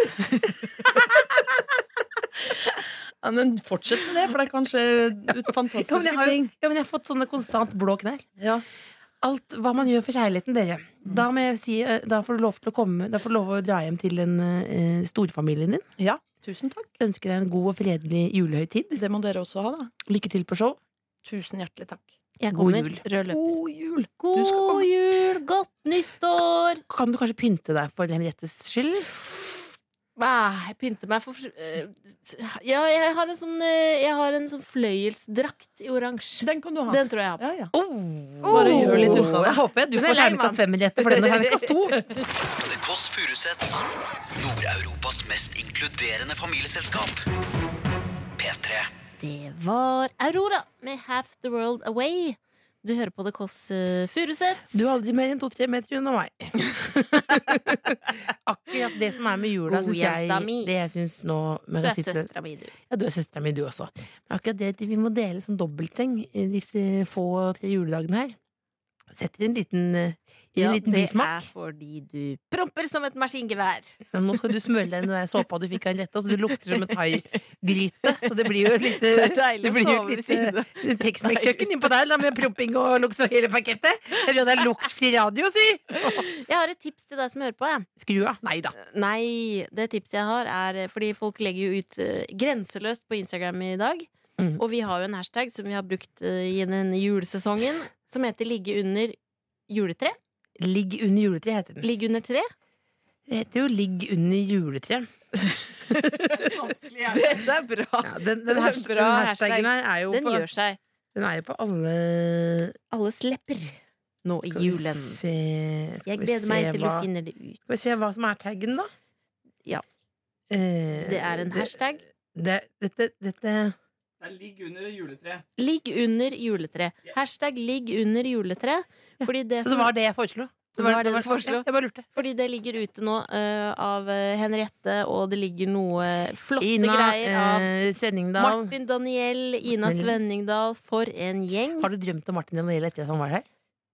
Ja, men fortsett med det, for det er kanskje ut-
Ja, men
fantastiske
jeg har, jo-
ting.
ja, men jeg har fått sånne konstant blå knær.
Ja.
Alt hva man gjør for kjærligheten, dere. Da, må jeg si, eh, da får du lov til å komme Da får du lov å dra hjem til en eh, storfamilien din.
Ja, tusen takk.
Ønsker deg en god og fredelig julehøytid.
Det må dere også ha, da.
Lykke til på show.
Tusen hjertelig takk.
Jeg
God
kommer.
jul.
Rød løper.
God jul! Du skal
God
komme.
jul, godt nyttår!
Kan du kanskje pynte deg for Henriettes skyld?
Ah, jeg pynter meg for eh, Ja, jeg har en sånn, eh, jeg har en sånn fløyelsdrakt i oransje.
Den kan du ha.
Den tror jeg jeg har på. Oh!
Ja, ja.
Oh,
Bare gjør litt ut av det.
Jeg håper jeg du
Den er
får
lei
terningkast
meg.
fem, Henriette, for den er terningkast to.
The Kåss Furuseths. Nord-Europas mest inkluderende familieselskap. P3.
Det var Aurora med Half the World Away. Du hører på The Kåss eh, Furuseths.
(laughs) Du er aldri mer enn to-tre meter unna meg. (laughs) Akkurat det som er med jula,
God
syns
jenta
jeg
mi.
Det jeg synes nå med
Du er
rasisme-
søstera mi, du.
Ja, du er søstera mi, du også. Men akkurat det at vi må dele sånn dobbeltseng i disse få tre juledagene her, setter en liten, eh, i en liten
det
bismak.
er fordi du promper som et maskingevær.
Ja, Nå skal du smøre deg i den der såpa du fikk av Henriette, så du lukter som en thaigryte. (laughs) Så det blir jo et lite
(laughs) Det eh, er deilig
det
å
blir jo
sove
et
ved siden av.
lite Texmex-kjøkken innpå der, da, med promping og lukt og hele pakettet. Jeg vil ha deg luktfri radio, si!
Jeg har et tips til deg som hører på. Jeg.
Skru av. Nei da.
Nei, det tipset jeg har, er eh, fordi folk legger jo ut eh, grenseløst på Instagram i dag.
Mhm.
Og vi har jo en hashtag som vi har brukt eh, i denne julesesongen, som heter 'ligge under juletre'.
Ligg under juletreet heter den.
Ligge under (laughs) tre.
Det heter jo Ligg under juletreet.
Dette er bra!
Ja, den,
Det
den,
er
hasht-
bra
den hashtagen her er jo
Den
på,
gjør seg.
den er jo på alle
Alles lepper. nå i
Skal vi
julen.
se skal
Jeg
vi
gleder
se
meg til du
hva-
finner det ut.
Skal vi se hva som er taggen, da?
Ja.
Eh,
Det er en hashtag.
Det, dette, dette
Det ligger under juletreet.
Ligg under juletre. Hashtag ligg under juletre. Fordi det,
Så det
som,
var det jeg foreslo?
Det var det du foreslo?
Jeg bare lurte.
fordi det ligger ute nå eh, av eh, Henriette, og det ligger noe eh, flotte
Ina
greier av
eh, Senningdal.
Martin Daniel, Ina
Martin.
Svenningdal. For en gjeng.
Har du drømt om Martin Daniel etter at han var her?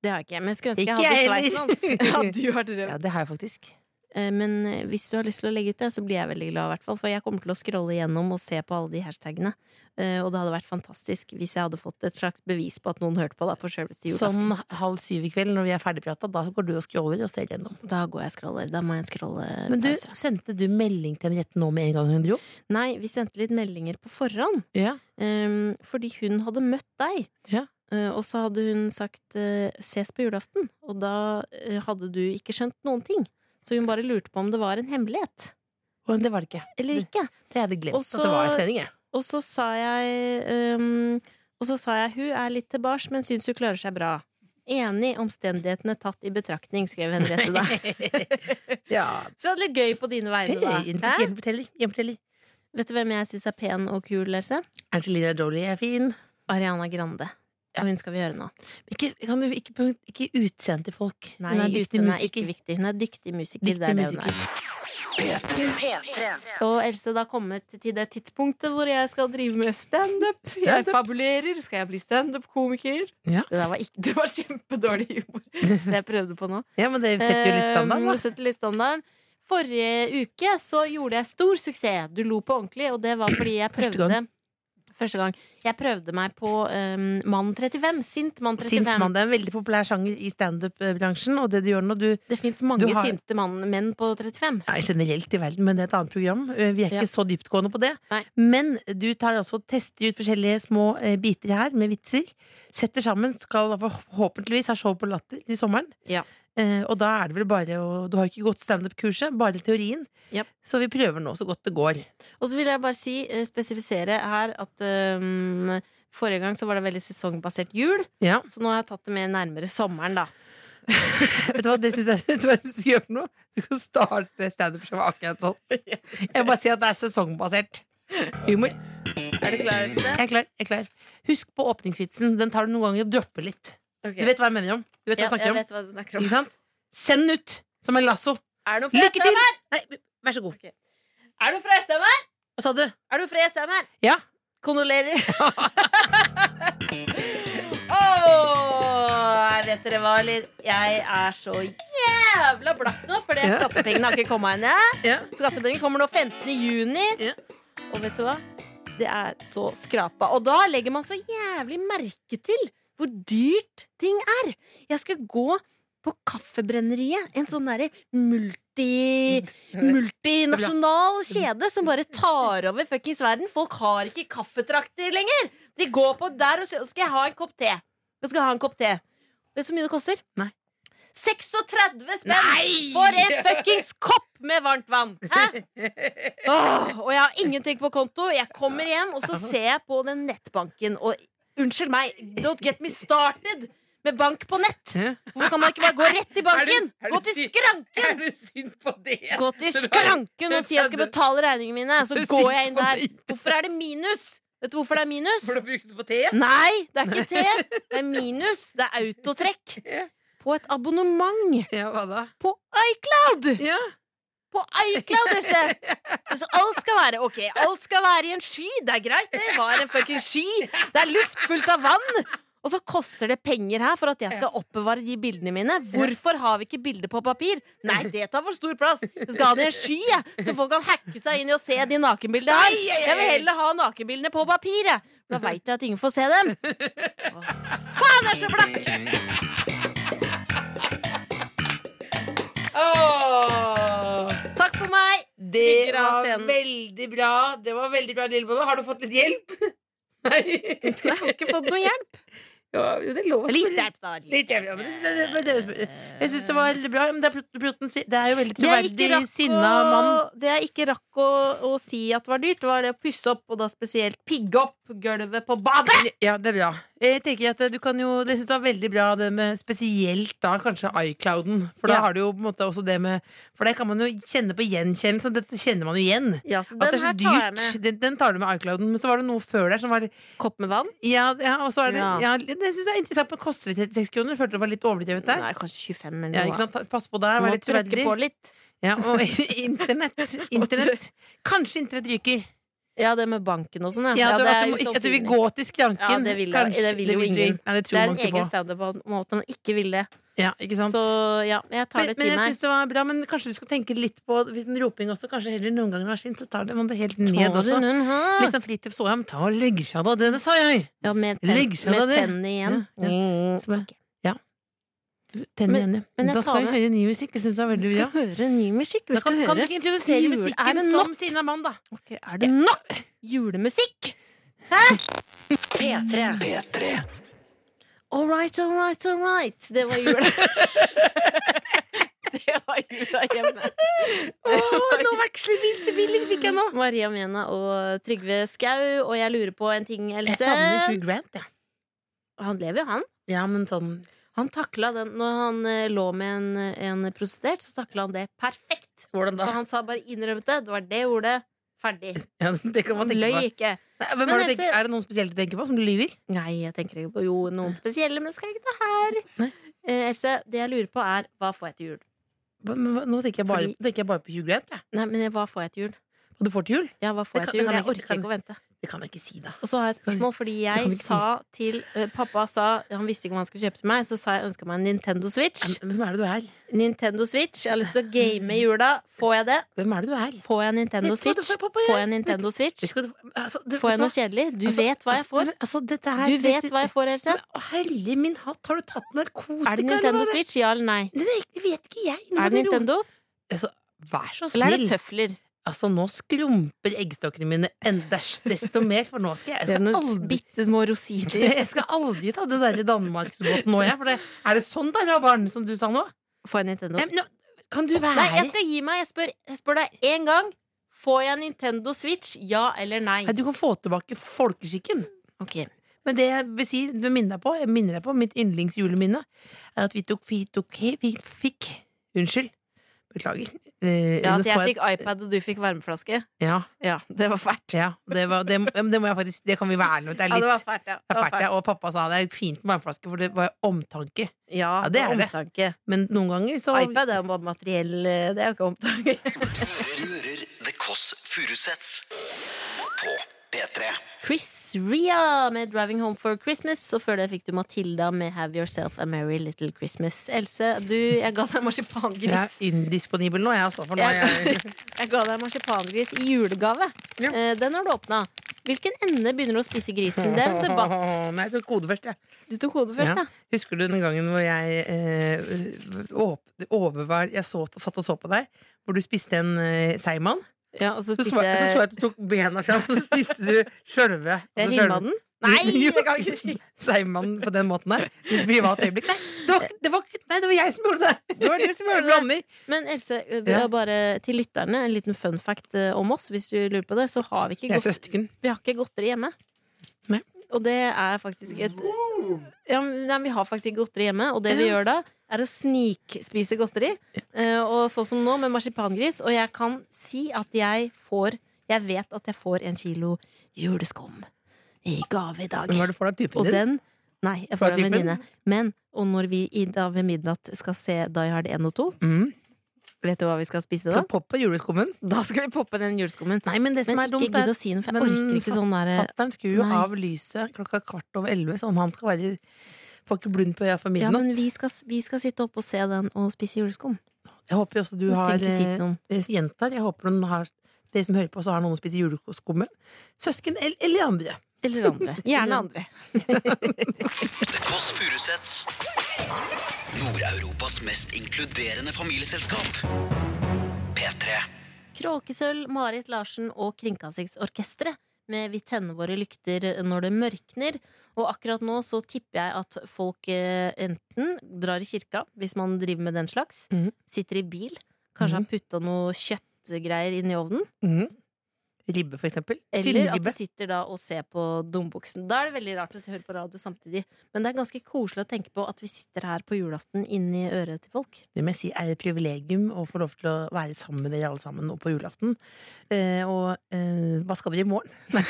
Det har ikke jeg, men jeg skulle ønske
Ikke
jeg hadde
jeg
sveisen
heller.
hans. du har drømt.
(laughs) Ja, det har jeg faktisk.
Eh, Men eh, hvis du har lyst til å legge ut det, så blir jeg veldig glad. i hvert fall For jeg kommer til å scrolle gjennom og se på alle de hashtagene. Eh, Og det hadde vært fantastisk hvis jeg hadde fått et slags bevis på at noen hørte på. Da, på selveste julaften.
Sånn halv syv i kveld når vi er ferdigprata, da går du og scroller og ser gjennom.
Da går jeg og scroller. Da må jeg scrolle
Men du,
pause.
sendte du melding til Henriette nå med en gang hun dro?
Nei, vi sendte litt meldinger på forhånd.
Ja.
eh, fordi hun hadde møtt deg.
Ja.
Eh, og så hadde hun sagt eh, 'ses på julaften', og da eh, hadde du ikke skjønt noen ting. Så hun bare lurte på om det var en hemmelighet
Men det var det ikke.
eller ikke.
Det hadde jeg glemt
Og så-
at det var sending, jeg.
Og så sa jeg ehm, Og så sa jeg hun er litt til bars, men syns hun klarer seg bra. Enig omstendighetene tatt i betraktning, skrev Henriette
(laughs)
da. (laughs)
ja.
Så det var litt gøy på dine vegne, da.
Hei,
Hæ?
gjenforteller. Gjenforteller.
Vet du hvem jeg syns er pen og kul, Else?
Angelina Jolie er fin.
Ariana Grande. Og hun skal vi gjøre nå.
Ikke, kan du ikke, punkt- ikke utseendet til folk.
Nei,
hun er dyktig
hun er ikke
musiker.
viktig. Hun er dyktig musiker.
Dyktig
det er det hun
musiker.
er. Og Else, det har kommet til det tidspunktet hvor jeg skal drive med standup. jeg
Stand-up.
fabulerer. Skal jeg bli standup-komiker?
Ja.
Det der var, ikke, (laughs) det var kjempedårlig humor, det jeg prøvde på nå.
Ja, men det setter jo litt standard,
Eh,
da.
setter litt standarden. Forrige uke så gjorde jeg stor suksess. Du lo på ordentlig, og det var fordi jeg prøvde
Første gang.
Første gang. Jeg prøvde meg på um, Mann 35. Sint mann 35.
Sint mann. Det er en veldig populær sjanger i standup-bransjen, og det du gjør nå du
Det fins mange
Du har-
sinte mann, menn på 35.
Nei, generelt i verden, men det er et annet program. Eh, Vi er
Ja.
ikke så dyptgående på det.
Nei.
Men du tar også og tester ut forskjellige små eh, biter her med vitser. Setter sammen, skal forhåpentligvis ha show på Latter i sommeren.
Ja.
Eh, og da er det vel bare å Du har ikke gått standup-kurset, bare teorien.
Japp.
Så vi prøver nå så godt det går.
Og så vil jeg bare si, eh, spesifisere her at um, forrige gang så var det veldig sesongbasert jul.
Ja.
Så nå har jeg tatt det med nærmere sommeren, da.
Vet du hva det synes jeg (laughs) vet du hva jeg synes du skal gjøre for noe? Du skal starte standup-showet akkurat sånn. Jeg vil bare si at det er sesongbasert. Humor.
Er du klar, Else?
Jeg er klar. jeg er klar Husk på åpningsvitsen. Den tar du noen ganger og dropper litt. Du vet hva jeg mener om. Du vet
Ja,
hva jeg snakker
jeg
om.
vet hva du snakker om.
Ikke sant? Send den ut som en lasso.
Er du fra
Lykke til!
SMR?
Nei, vær så god.
Er du fra SMR?
Hva sa du?
Er du fra SMR?
Ja. (laughs)
Kondolerer. Å, vet dere hva, eller? Jeg er så jævla blakk nå, for det
Ja.
skattepengene har ikke kommet ennå.
Ja.
Skattepengene kommer nå 15. juni.
Ja.
Og vet du hva? Det er så skrapa. Og da legger man så jævlig merke til hvor dyrt ting er. Jeg skal gå på Kaffebrenneriet, en sånn derre multi... Multinasjonal kjede som bare tar over fuckings verden. Folk har ikke kaffetrakter lenger! De går på der og sier Skal jeg ha en kopp te? Jeg skal ha en kopp te. Vet du hvor mye det koster?
Nei.
36 spenn for en fuckings kopp med varmt vann! Hæ? Åh, og jeg har ingenting på konto. Jeg kommer hjem, og så ser jeg på den nettbanken, og unnskyld meg, don't get me started! Med bank på nett! Hvorfor kan man ikke bare gå rett i banken?
er du
Gå til
si-
skranken!
du sint på (laughs) det?
Gå til skranken og si jeg skal betale regningene mine. Så
Du
går
sitter
jeg inn
på
der.
(laughs) det.
Hvorfor er det minus? Vet du hvorfor det er minus?
du brukt det på te?
Nei, det er ikke te. Det er minus. Det er autotrekk.
(laughs)
På et abonnement
Ja, hva da?
på iCloud!
Ja.
På iCloud,
(laughs)
Else! Så Altså, alt skal være ok, alt skal være i en sky. Det er greit, det var en fucking sky. Det er luft fullt av vann. Og så koster det penger her for at jeg skal oppbevare de bildene mine. Hvorfor har vi ikke bilder på papir? Nei, det tar for stor plass. Jeg skal ha det i en sky, jeg, så folk kan hacke seg inn i og se de nakenbildene her. Jeg vil heller ha nakenbildene på papir, jeg. Da veit jeg at ingen får se dem. Å, faen, jeg er så blakk! Takk for meg.
Det
Bygger av
var
scenen.
veldig bra. Det var veldig bra, Lillebolla. Har du fått litt hjelp? Nei.
Jeg har ikke fått noe hjelp.
(laughs) Ja, det er lov å
Litt
spørre.
hjelp, da.
Litt hjelp, ja, men det- det- det- det- Jeg syns det var veldig bra. Men det er, Pjot- Pjotten si- det er jo veldig
Det jeg ikke
troverdig
rakk
sinna
å-
mann.
Det jeg ikke rakk å, å si at var dyrt, var det å pusse opp, og da spesielt pigge opp gulvet på badet!
Ja, det er bra. Jeg tenker at eh, du kan jo Det synes jeg var veldig bra, det med spesielt da kanskje iClouden. For da
Ja.
har du jo på en måte også det med For det kan man jo kjenne på gjenkjennelse. Dette kjenner man jo igjen.
Ja, så den
At det er så
her tar jeg
dyrt.
med.
Den, den tar du med iClouden. Men så var det noe før der som var
Kopp med vann?
Ja, ja og så er det
Ja.
ja. Det syns jeg er interessant. Men koster det 36 kroner? Følte det var litt overdrevet der.
Nei, kanskje 25
Ja,
eller
ikke
noe.
sant? Pass på der,
Må
vær litt
trykke
troverdig.
på litt.
Ja, og
(laughs)
internett. Internett. Kanskje internett ryker.
Ja, det med banken og sånn, ja.
Ja,
Ja,
det, at,
er
du må, ikke- at du vil
usannsynlig.
gå til skranken.
Ja, det vil jo-
Kanskje.
det vil jo
du-
ingen.
Nei, det tror
Det er
man
en
ikke
egen
på.
standup på en måte man ikke vil det.
Ja, ikke sant?
Så ja, jeg tar
men,
det
men
til
jeg
meg.
syns det var bra, men kanskje du skal tenke litt på Hvis en roping også kanskje heller noen ganger har sin, så tar det man det helt ned
Tar
også.
den, den her?
Litt sånn fritid så jeg, men ta og legg fra deg det, det sa jeg!
Ja, med, tenn,
Legg seg da,
med
det.
tennene igjen.
Ja, Mm. Så bare,
Ok.
ja. Tenn
Men-
igjen, ja.
men jeg tar
Da skal vi
med-
høre ny musikk. Jeg syns det var
Vi
veldig
skal
bra.
høre ny musikk. Vi
Da
skal
Kan, kan du
høre
ikke introdusere
jule- Er
musikken
det
som
nok?
Sinna Mann, da?
Ok, Er det nok julemusikk?
P3.
All right, all right, all right. Det var
(laughs)
jula. det var jula hjemme. nå veksler vi til Willing, fikk jeg nå. Maria Mena og Trygve Skau, og jeg lurer på en ting,
Jeg
Else.
savner Hugh Grant, jeg.
Han lever jo, han.
Ja. ja, men sånn
Han takla den Når han eh, lå med en, en prostituert, så takla han det perfekt.
Hvordan
For han sa bare innrømmet det. Det var det ordet. Ferdig.
Ja, det kan man
Han
tenke
løy
på.
ikke.
Nei, hvem
Men
har du
jeg
tenkt,
ser-
er det noen spesielt du tenker på som lyver?
Nei, jeg tenker ikke på jo, noen spesielle, men skal jeg ikke ta her. Eh, Else, det jeg lurer på, er hva får jeg til jul?
Hva- men hva- Nå tenker jeg bare,
Fordi-
tenker jeg bare på Hugh Grant. Jeg.
Nei, men hva får jeg til jul?
Hva du får til jul?
Ja, hva får
Det
jeg
kan-
til
det
jul?
kan
Jeg
jeg ikke-
orker
det
ikke å vente.
Det kan jeg ikke si, da.
Og så har jeg et spørsmål, fordi
kan vi
jeg
ikke
sa til eh, Pappa sa Han visste ikke hva han skulle kjøpe til meg, så sa jeg ønska meg en Nintendo Switch.
Hvem er det du er?
Nintendo Switch, Jeg har lyst til å game i jula. Får jeg det?
Hvem er det du er?
Får jeg en Nintendo
Vet du hva du
Switch?
får, pappa?
Får jeg
Jeg
en Nintendo
Vet
Switch?
du hva du- altså, du-
Får jeg noe
vet du hva?
kjedelig? Du
Altså,
vet hva jeg
altså,
får.
Altså, dette her
Du vet hva jeg får, Else.
Å, Herre min hatt, har du tatt narkotika?
Er det
eller
Nintendo
hva det-
Switch? Ja eller nei?
Nei, Det det vet ikke jeg. Nå må
Er det
du roe-
Nintendo?
Altså, vær så snill.
Eller er det tøfler?
Altså, nå skrumper eggstokkene mine enda desto mer, for nå skal jeg, jeg
Det er
skal
noen
aldri
bitte små rosiner.
(laughs) Jeg skal aldri ta den derre Danmarksbåten nå, jeg. For det, er det sånn der, ja, barn, som du sa nå?
Får jeg Nintendo?
Nei, men nå kan du være
Nei, jeg skal gi meg. Jeg spør, jeg spør deg én gang. Får jeg Nintendo Switch? Ja eller nei?
Nei, Du kan få tilbake folkeskikken.
Ok,
Men det jeg vil si, du minner deg på, jeg minner deg på mitt yndlingsjuleminne, er at vi tok, vi tok vi fikk Unnskyld. Beklager. Eh,
ja,
nå
At
så
jeg fikk iPad og du fikk varmeflaske?
Ja,
Ja, det var fælt.
ja det, var, det, det må jeg faktisk Det kan vi være ærlige om. Det er
Ja,
litt
det var fælt, ja.
det er fælt, ja. Og pappa sa det er fint med varmeflaske, for det var omtanke.
Ja,
Ja,
det
det er
var
det.
omtanke.
Men noen ganger så
iPad er jo bare materiell,
eh,
det er jo ikke omtanke.
Du hører The Kåss Furuseths på P3.
Chris Ria med 'Driving Home for Christmas', og før det fikk du Matilda med 'Have Yourself a Merry Little Christmas'. Else, du, jeg ga deg marsipangris.
Jeg er indisponibel nå, jeg, altså. For nå er jeg
Jeg, (laughs) jeg ga deg marsipangris i julegave.
Ja.
Eh, den har du åpna. Hvilken ende begynner du å spise grisen? Det er en debatt.
(laughs) Nei, jeg tok kode først, jeg.
Du tok hodet først,
Ja.
da.
Husker du den gangen hvor jeg eh, åp- overvar Jeg så, satt og så på deg, hvor du spiste en eh, seigmann.
Ja, og så
Så,
spiste
så, så så jeg
jeg
at du tok bena fram, og så spiste du sjølve.
Jeg rimma den. Eh,
(laughs)
Nei, det kan jeg ikke si.
Seigmannen på den måten der. I et privat øyeblikk. Nei, det var, ikke- det var, ikke- nei, det var jeg som gjorde det!
Det var du som gjorde det.
Jeg blander.
Men Else, eh, vi
Ja.
har bare til lytterne en liten fun fact eh, om oss. Hvis du lurer på det, så har vi ikke,
Jeg er
godt,
søsken.
vi har ikke godteri hjemme.
Nei.
Og det er faktisk et ja, men- Nei, vi har faktisk ikke godteri hjemme, og det vi
Ja.
gjør da, er å snikspise godteri. Eh, og sånn som nå, med marsipangris. Og jeg kan si at jeg får Jeg vet at jeg får en kilo juleskum i gave i dag.
Hvem var det for deg? Typen
Og
din?
den Nei, jeg
Fra
får det av en
typen?
venninne. Men, og når vi i, da ved midnatt skal se Die Hard 1 og 2,
Mm.
vet du hva vi skal spise da?
Så popp på juleskummen.
Da skal vi poppe den juleskummen.
Nei, men det som
Men
er dumt,
ikke gidd å si noe, for jeg
Men
orker ikke sånn derre
Fatter'n skrur jo
Nei.
av lyset klokka kvart over elleve, sånn han skal være Får ikke blund på øya for
ja,
midnatt.
men vi skal, vi skal sitte oppe og se den og spise juleskum.
Jeg håper jo også du
Hvis du
har
ikke sier noe.
eh, jenter. Jeg håper noen har, dere som hører på, så har noen å spise juleskumme. Søsken eller, eller andre.
(laughs) Eller andre. Gjerne andre.
The Kåss Furuseths. Nord-Europas mest inkluderende familieselskap. P3.
Kråkesølv, Marit Larsen og Kringkastingsorkesteret med 'Vi tenner våre lykter når det mørkner'. Og akkurat nå så tipper jeg at folk eh, enten drar i kirka, hvis man driver med den slags,
Mhm.
sitter i bil, kanskje har putta noe kjøttgreier inn i ovnen,
Mhm. Ribbe, for eksempel.
eller at du
Tynnribbe.
sitter da og ser på Dombuksen. Da er det veldig rart å høre på radio samtidig, men det er ganske koselig å tenke på at vi sitter her på julaften inni øret til folk.
Det må jeg si er et privilegium å få lov til å være sammen med dere alle sammen nå på julaften. Eh, og eh, hva skal dere i (laughs) morgen?
Hva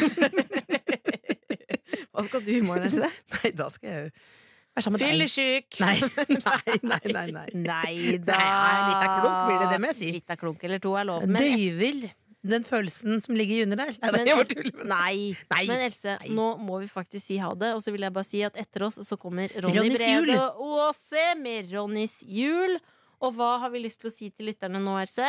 skal du i morgen, Else?
Nei, da skal jeg være sammen med deg.
Fyllesyk!
Nei, (laughs) nei, nei. nei, (laughs) nei.
Nei da!
Nei, nei, litt av klunk blir det, det må jeg si.
Litt av klunk eller to er lov.
Jeg
Men
Døyver den følelsen som ligger under der. Nei,
Men-
jeg bare tuller med deg.
Nei.
Nei.
Men Else,
Nei.
nå må vi faktisk si ha det. Og så vil jeg bare si at etter oss så kommer Ronny
Ronnys jul.
Brede Aase med Ronnys jul. Og hva har vi lyst til å si til lytterne nå, Else?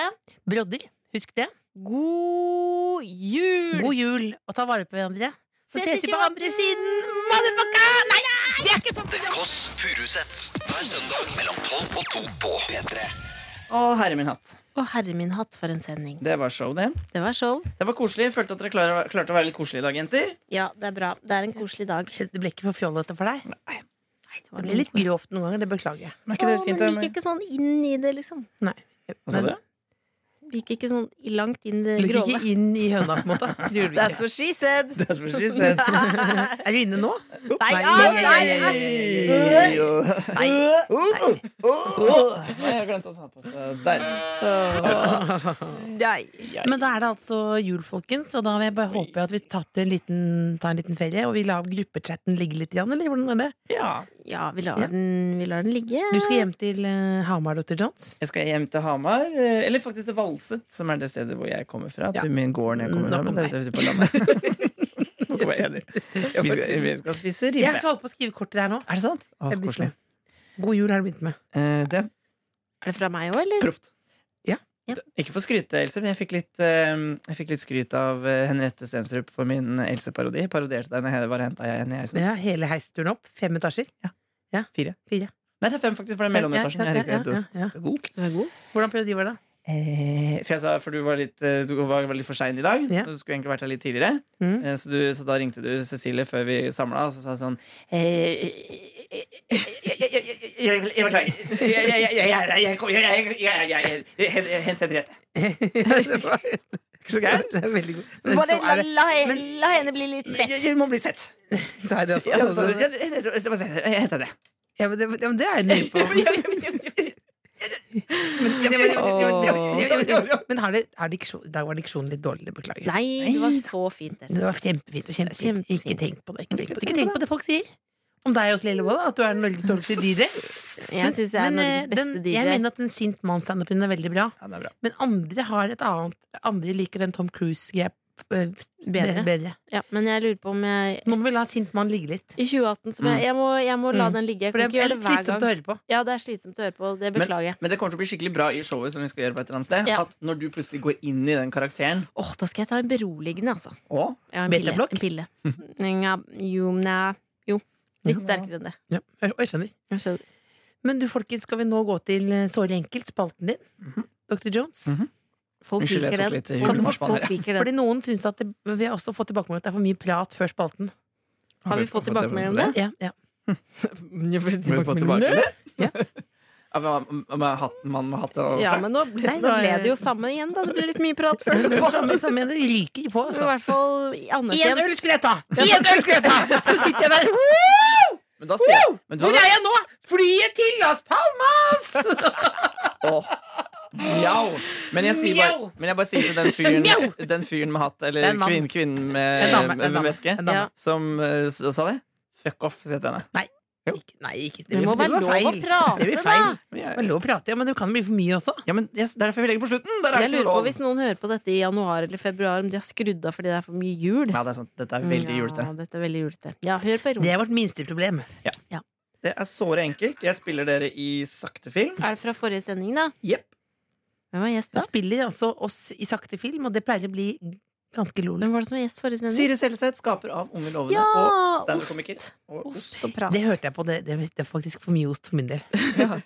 Brodder, husk det.
God jul!
God jul, og ta vare på hverandre. Så
Ses i
ses vi på andre
28.
siden! Motherfucka! Nei, det er ikke sånn!
The Kåss Furuseths. Hver søndag mellom 12 og 2 på P3.
Å, herre min hatt.
Å, herre min hatt, for en sending.
Det var show, det.
Det var show.
Det var koselig. Følte at dere klarte, klarte å være litt koselige i dag, jenter.
Ja, det er bra. Det er en koselig dag.
Det ble ikke for fjollete for deg.
Nei, det
Det
var
ble litt grovt noen ganger, det beklager jeg.
Men er
Å,
ikke det fint?
men vi
det?
gikk ikke sånn inn i det, liksom.
Nei.
Hva sa du?
Vi gikk ikke sånn langt inn i det
Du gikk
grove.
ikke inn i høna, på en måte. (laughs) Det gjorde du ikke.
That's what she said!
Det er som she said.
Er du inne nå?
Nei,
Nei,
ah,
nei,
nei,
nei,
æsj!
Nei. Jeg glemte å ta på seg Der.
Men da er det altså jul, folkens, og da vil jeg bare håpe at vi tatt en liten, tar en liten ferie, og vi lar gruppechatten ligge litt, igjen, eller hvordan er det?
Ja.
Ja, vi lar,
Ja.
Den, vi lar den ligge.
Du skal hjem til eh, Hamar, Dr. Jones?
Jeg skal hjem til Hamar. eh, Eller faktisk til Valset, som er det stedet hvor jeg kommer fra.
Ja.
Til min gården jeg kommer
Nok
fra.
om
Men det er ute på landet.
(laughs)
Nå kommer jeg enig. Vi skal, vi skal spise ribbe.
Jeg skal holde på å skrive kortet der nå.
Er det sant? Å,
Jeg begynte
koselig.
med. God jul har du begynt med.
Eh, det
(laughs)
er
Er det fra meg òg, eller?
proft.
Ja.
Ja.
Ikke for å skryte, Else, men jeg fikk litt, eh, jeg fikk litt skryt av eh, Henriette Stensrup for min Else-parodi. Jeg Parodierte deg når jeg var henta jeg henne i heisen.
Ja, hele heisturen opp. Fem etasjer.
Fire.
Fire.
Nei, det er fem, faktisk, for det er mellometasjen.
Ja,
Jeg
ja,
rekker helt
ja,
dos.
ja, ja.
God.
Du er god. Hvordan prøvde de var det?
Eh, for, jeg sa, for du var litt, eh, du var litt for sein i dag.
Ja.
Du skulle egentlig vært her litt tidligere.
Mm.
Eh, så, du, så da ringte du Cecilie før vi samla, og så sa hun sånn eh, Jeg beklager. Hent Henriette.
(laughs)
Ikke så gærent.
Det er veldig god. Men så er det
henne bli litt
Hun må bli sett.
Nei, det er også-
Ja, så-
altså,
ja, ja, ja, ja, ja, Jeg henter det.
ja, men det, (laughs) ja, men det er jeg nøye på. Men- ja, men- ja, men- ja, men- ja, men- Men har det, er diksjon, i dag var diksjonen litt dårlig, beklager.
Nei, det var så fint.
Det
Else.
var kjempefint. og altså- kjempefint.
Kjempefint.
Ikke tenk på det. Ikke tenk på det, ikke tenk på det folk sier om deg også, Lillebolla, at du er Norges dårligste (laughs) DJ.
Jeg syns jeg er
Men, eh,
Norges beste
den, Jeg
DJ.
mener at en sint mann standup-en er veldig bra.
Ja, det er bra.
Men andre har et annet Andre liker den Tom Cruise-greia eh,
Bedre.
bedre.
Ja, men jeg lurer på om jeg
Nå må vi la sint mann ligge litt.
I 2018 så må jeg, jeg, må, jeg må la
Mm.
den ligge. Jeg
For
kan
det
ikke
er
gjøre
litt
det hver
slitsomt å
gang.
høre på.
Ja, det er slitsomt å høre på. Det beklager jeg.
Men det kommer til å bli skikkelig bra i showet som vi skal gjøre på et eller annet sted.
Ja.
At når du plutselig går inn i den karakteren
Åh, da skal jeg ta en beroligende, altså.
Å,
Ja, en pille.
Betablokk?
En pille. Nja, jo, nei. Jo. Litt sterkere enn det.
Ja, jeg, jeg skjønner.
Jeg skjønner.
Men du, folkens, skal vi nå gå til eh, Såre enkelt, spalten din? Dr. Jones?
Mhm.
Folk
Unnskyld, jeg
liker
tok
den.
litt
Folk-
julemarsipan her,
Folk liker den.
Fordi noen syns at det, Vi har også fått tilbakemelding at det er for mye prat før spalten.
Har vi fått tilbakemelding om det?
Ja, ja.
Har vi fått tilbakemelding om det? (laughs) Ja, men, men, men, hatt, mann med hatt og
Ja, men nå ble,
Nei,
nå
da
ble
er-
det jo samme igjen, da. Det ble litt mye prat før det
(laughs)
spalt.
Samme (laughs) som jeg, det ryker
(laughs)
på.
I
Altså.
hvert fall
Én
anerkjent.
øl skulle jeg ta! Én øl skulle jeg ta! Så sitter jeg (laughs) der. Woo!
Men da sier men
Hvor
da-
er jeg nå? Flyet til Las Palmas!
Åh. Mjau. Men jeg, sier bare,
Mjau.
men jeg bare sier til den fyren,
Mjau.
den fyren med hatt, eller
Det er en mann.
kvinnen kvinnen
En
med,
dame, en
med, med
dame,
veske,
en dame.
Ja.
som eh, s- sa det. Fuck off, sier jeg til henne.
Ikke- Nei, ikke
Det må
var
være lov å
feil. Det
prate,
blir
da!
feil.
Men
Det er
jeg-
lov å prate, ja, men det kan bli for mye også.
Ja, men jeg, Det er derfor vi legger på slutten. Der er
Jeg
det ikke
lurer på
lov.
hvis noen hører på dette i januar eller februar, om de har skrudd av fordi det er for mye jul.
Ja, det er sant. Dette er veldig julete.
Ja, dette er veldig julete. Ja, hør på
Det
Ron.
er vårt minste problem.
Det er såre enkelt. Jeg spiller dere i sakte film.
Er det fra forrige sending, da?
Jepp.
Hvem var gjest
Du
da?
spiller altså oss i sakte film, og det pleier å bli ganske lol.
Hvem var det som var gjest forrige sending?
Siri Seljeseth, skaper av Unge
Mhm.
lovende
Ja,
og standup-komiker.
ost.
Og
Ost og prat.
Det hørte jeg på, det, det det er faktisk for mye ost for min del.
Ja. Ja,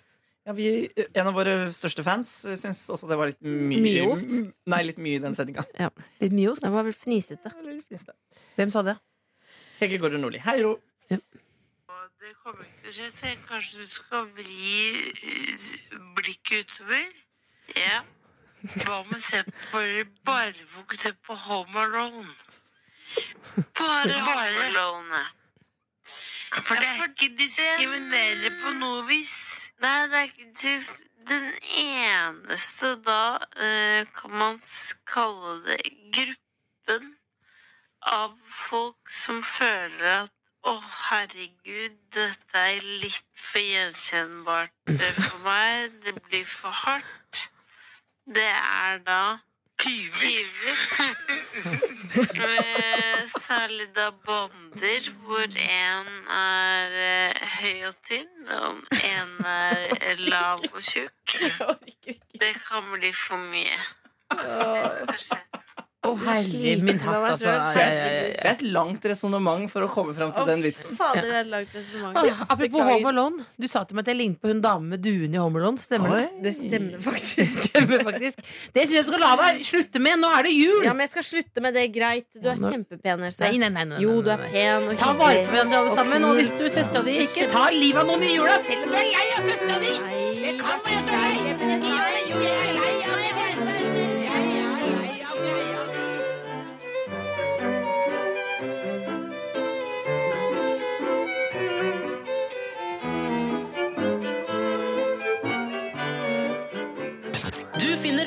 Ja, vi, en av våre største fans eh, syns også det var litt mye
Mye ost?
m- Nei, litt mye i den sendinga.
Litt mye ost.
Den var vel fnisete.
Hvem sa det?
Hege Gordon Nordli. Hei, Ro.
Det kommer ikke til å skje, så kanskje du skal vri eh, blikket utover. Ja. Hva med å se på bare, bare fokusere på Home Alone? Bare Home Alone. For det er ikke diskriminerende på noe vis. Nei, det er ikke dis- den eneste da eh, kan man s- kalle det gruppen av folk som føler at å, herregud, dette er litt for gjenkjennbart eh, for meg. Det blir for hardt. Det er da tyver. Eh, Særlig da bonder hvor én er eh, høy og tynn, og én er eh, lav og tjukk. Det kan bli for mye. Rett og slett.
Å, herre min hatt, altså. Ja, ja, ja, ja.
Det er et langt resonnement for å komme fram til den vitsen.
Fader, det er et langt resonnement.
Å, apropos Home Alone. Du sa til meg at jeg lignet på hun damen med duen i Home Alone. Stemmer det?
Det stemmer
(laughs) Det
faktisk.
stemmer faktisk. Det syns jeg du skal la meg slutte med! Nå er det jul!
Ja, men jeg skal slutte med det. Greit. Du er
Nå-
kjempepen,
Nei,
Else.
nei, nei, nei, nei,
Jo, du
nei,
er
nei.
pen og
Ta vare på
hyggelig.
hverandre alle sammen. Og
kul.
hvis du søstera di ikke tar livet av noen i jula, selv om du er lei av søstera di! Det kan man jo ta lei av, men ikke gjør det. Jo, jeg er lei av det, jeg er lei av det, jeg er lei av det, jeg er lei av det.
Du finner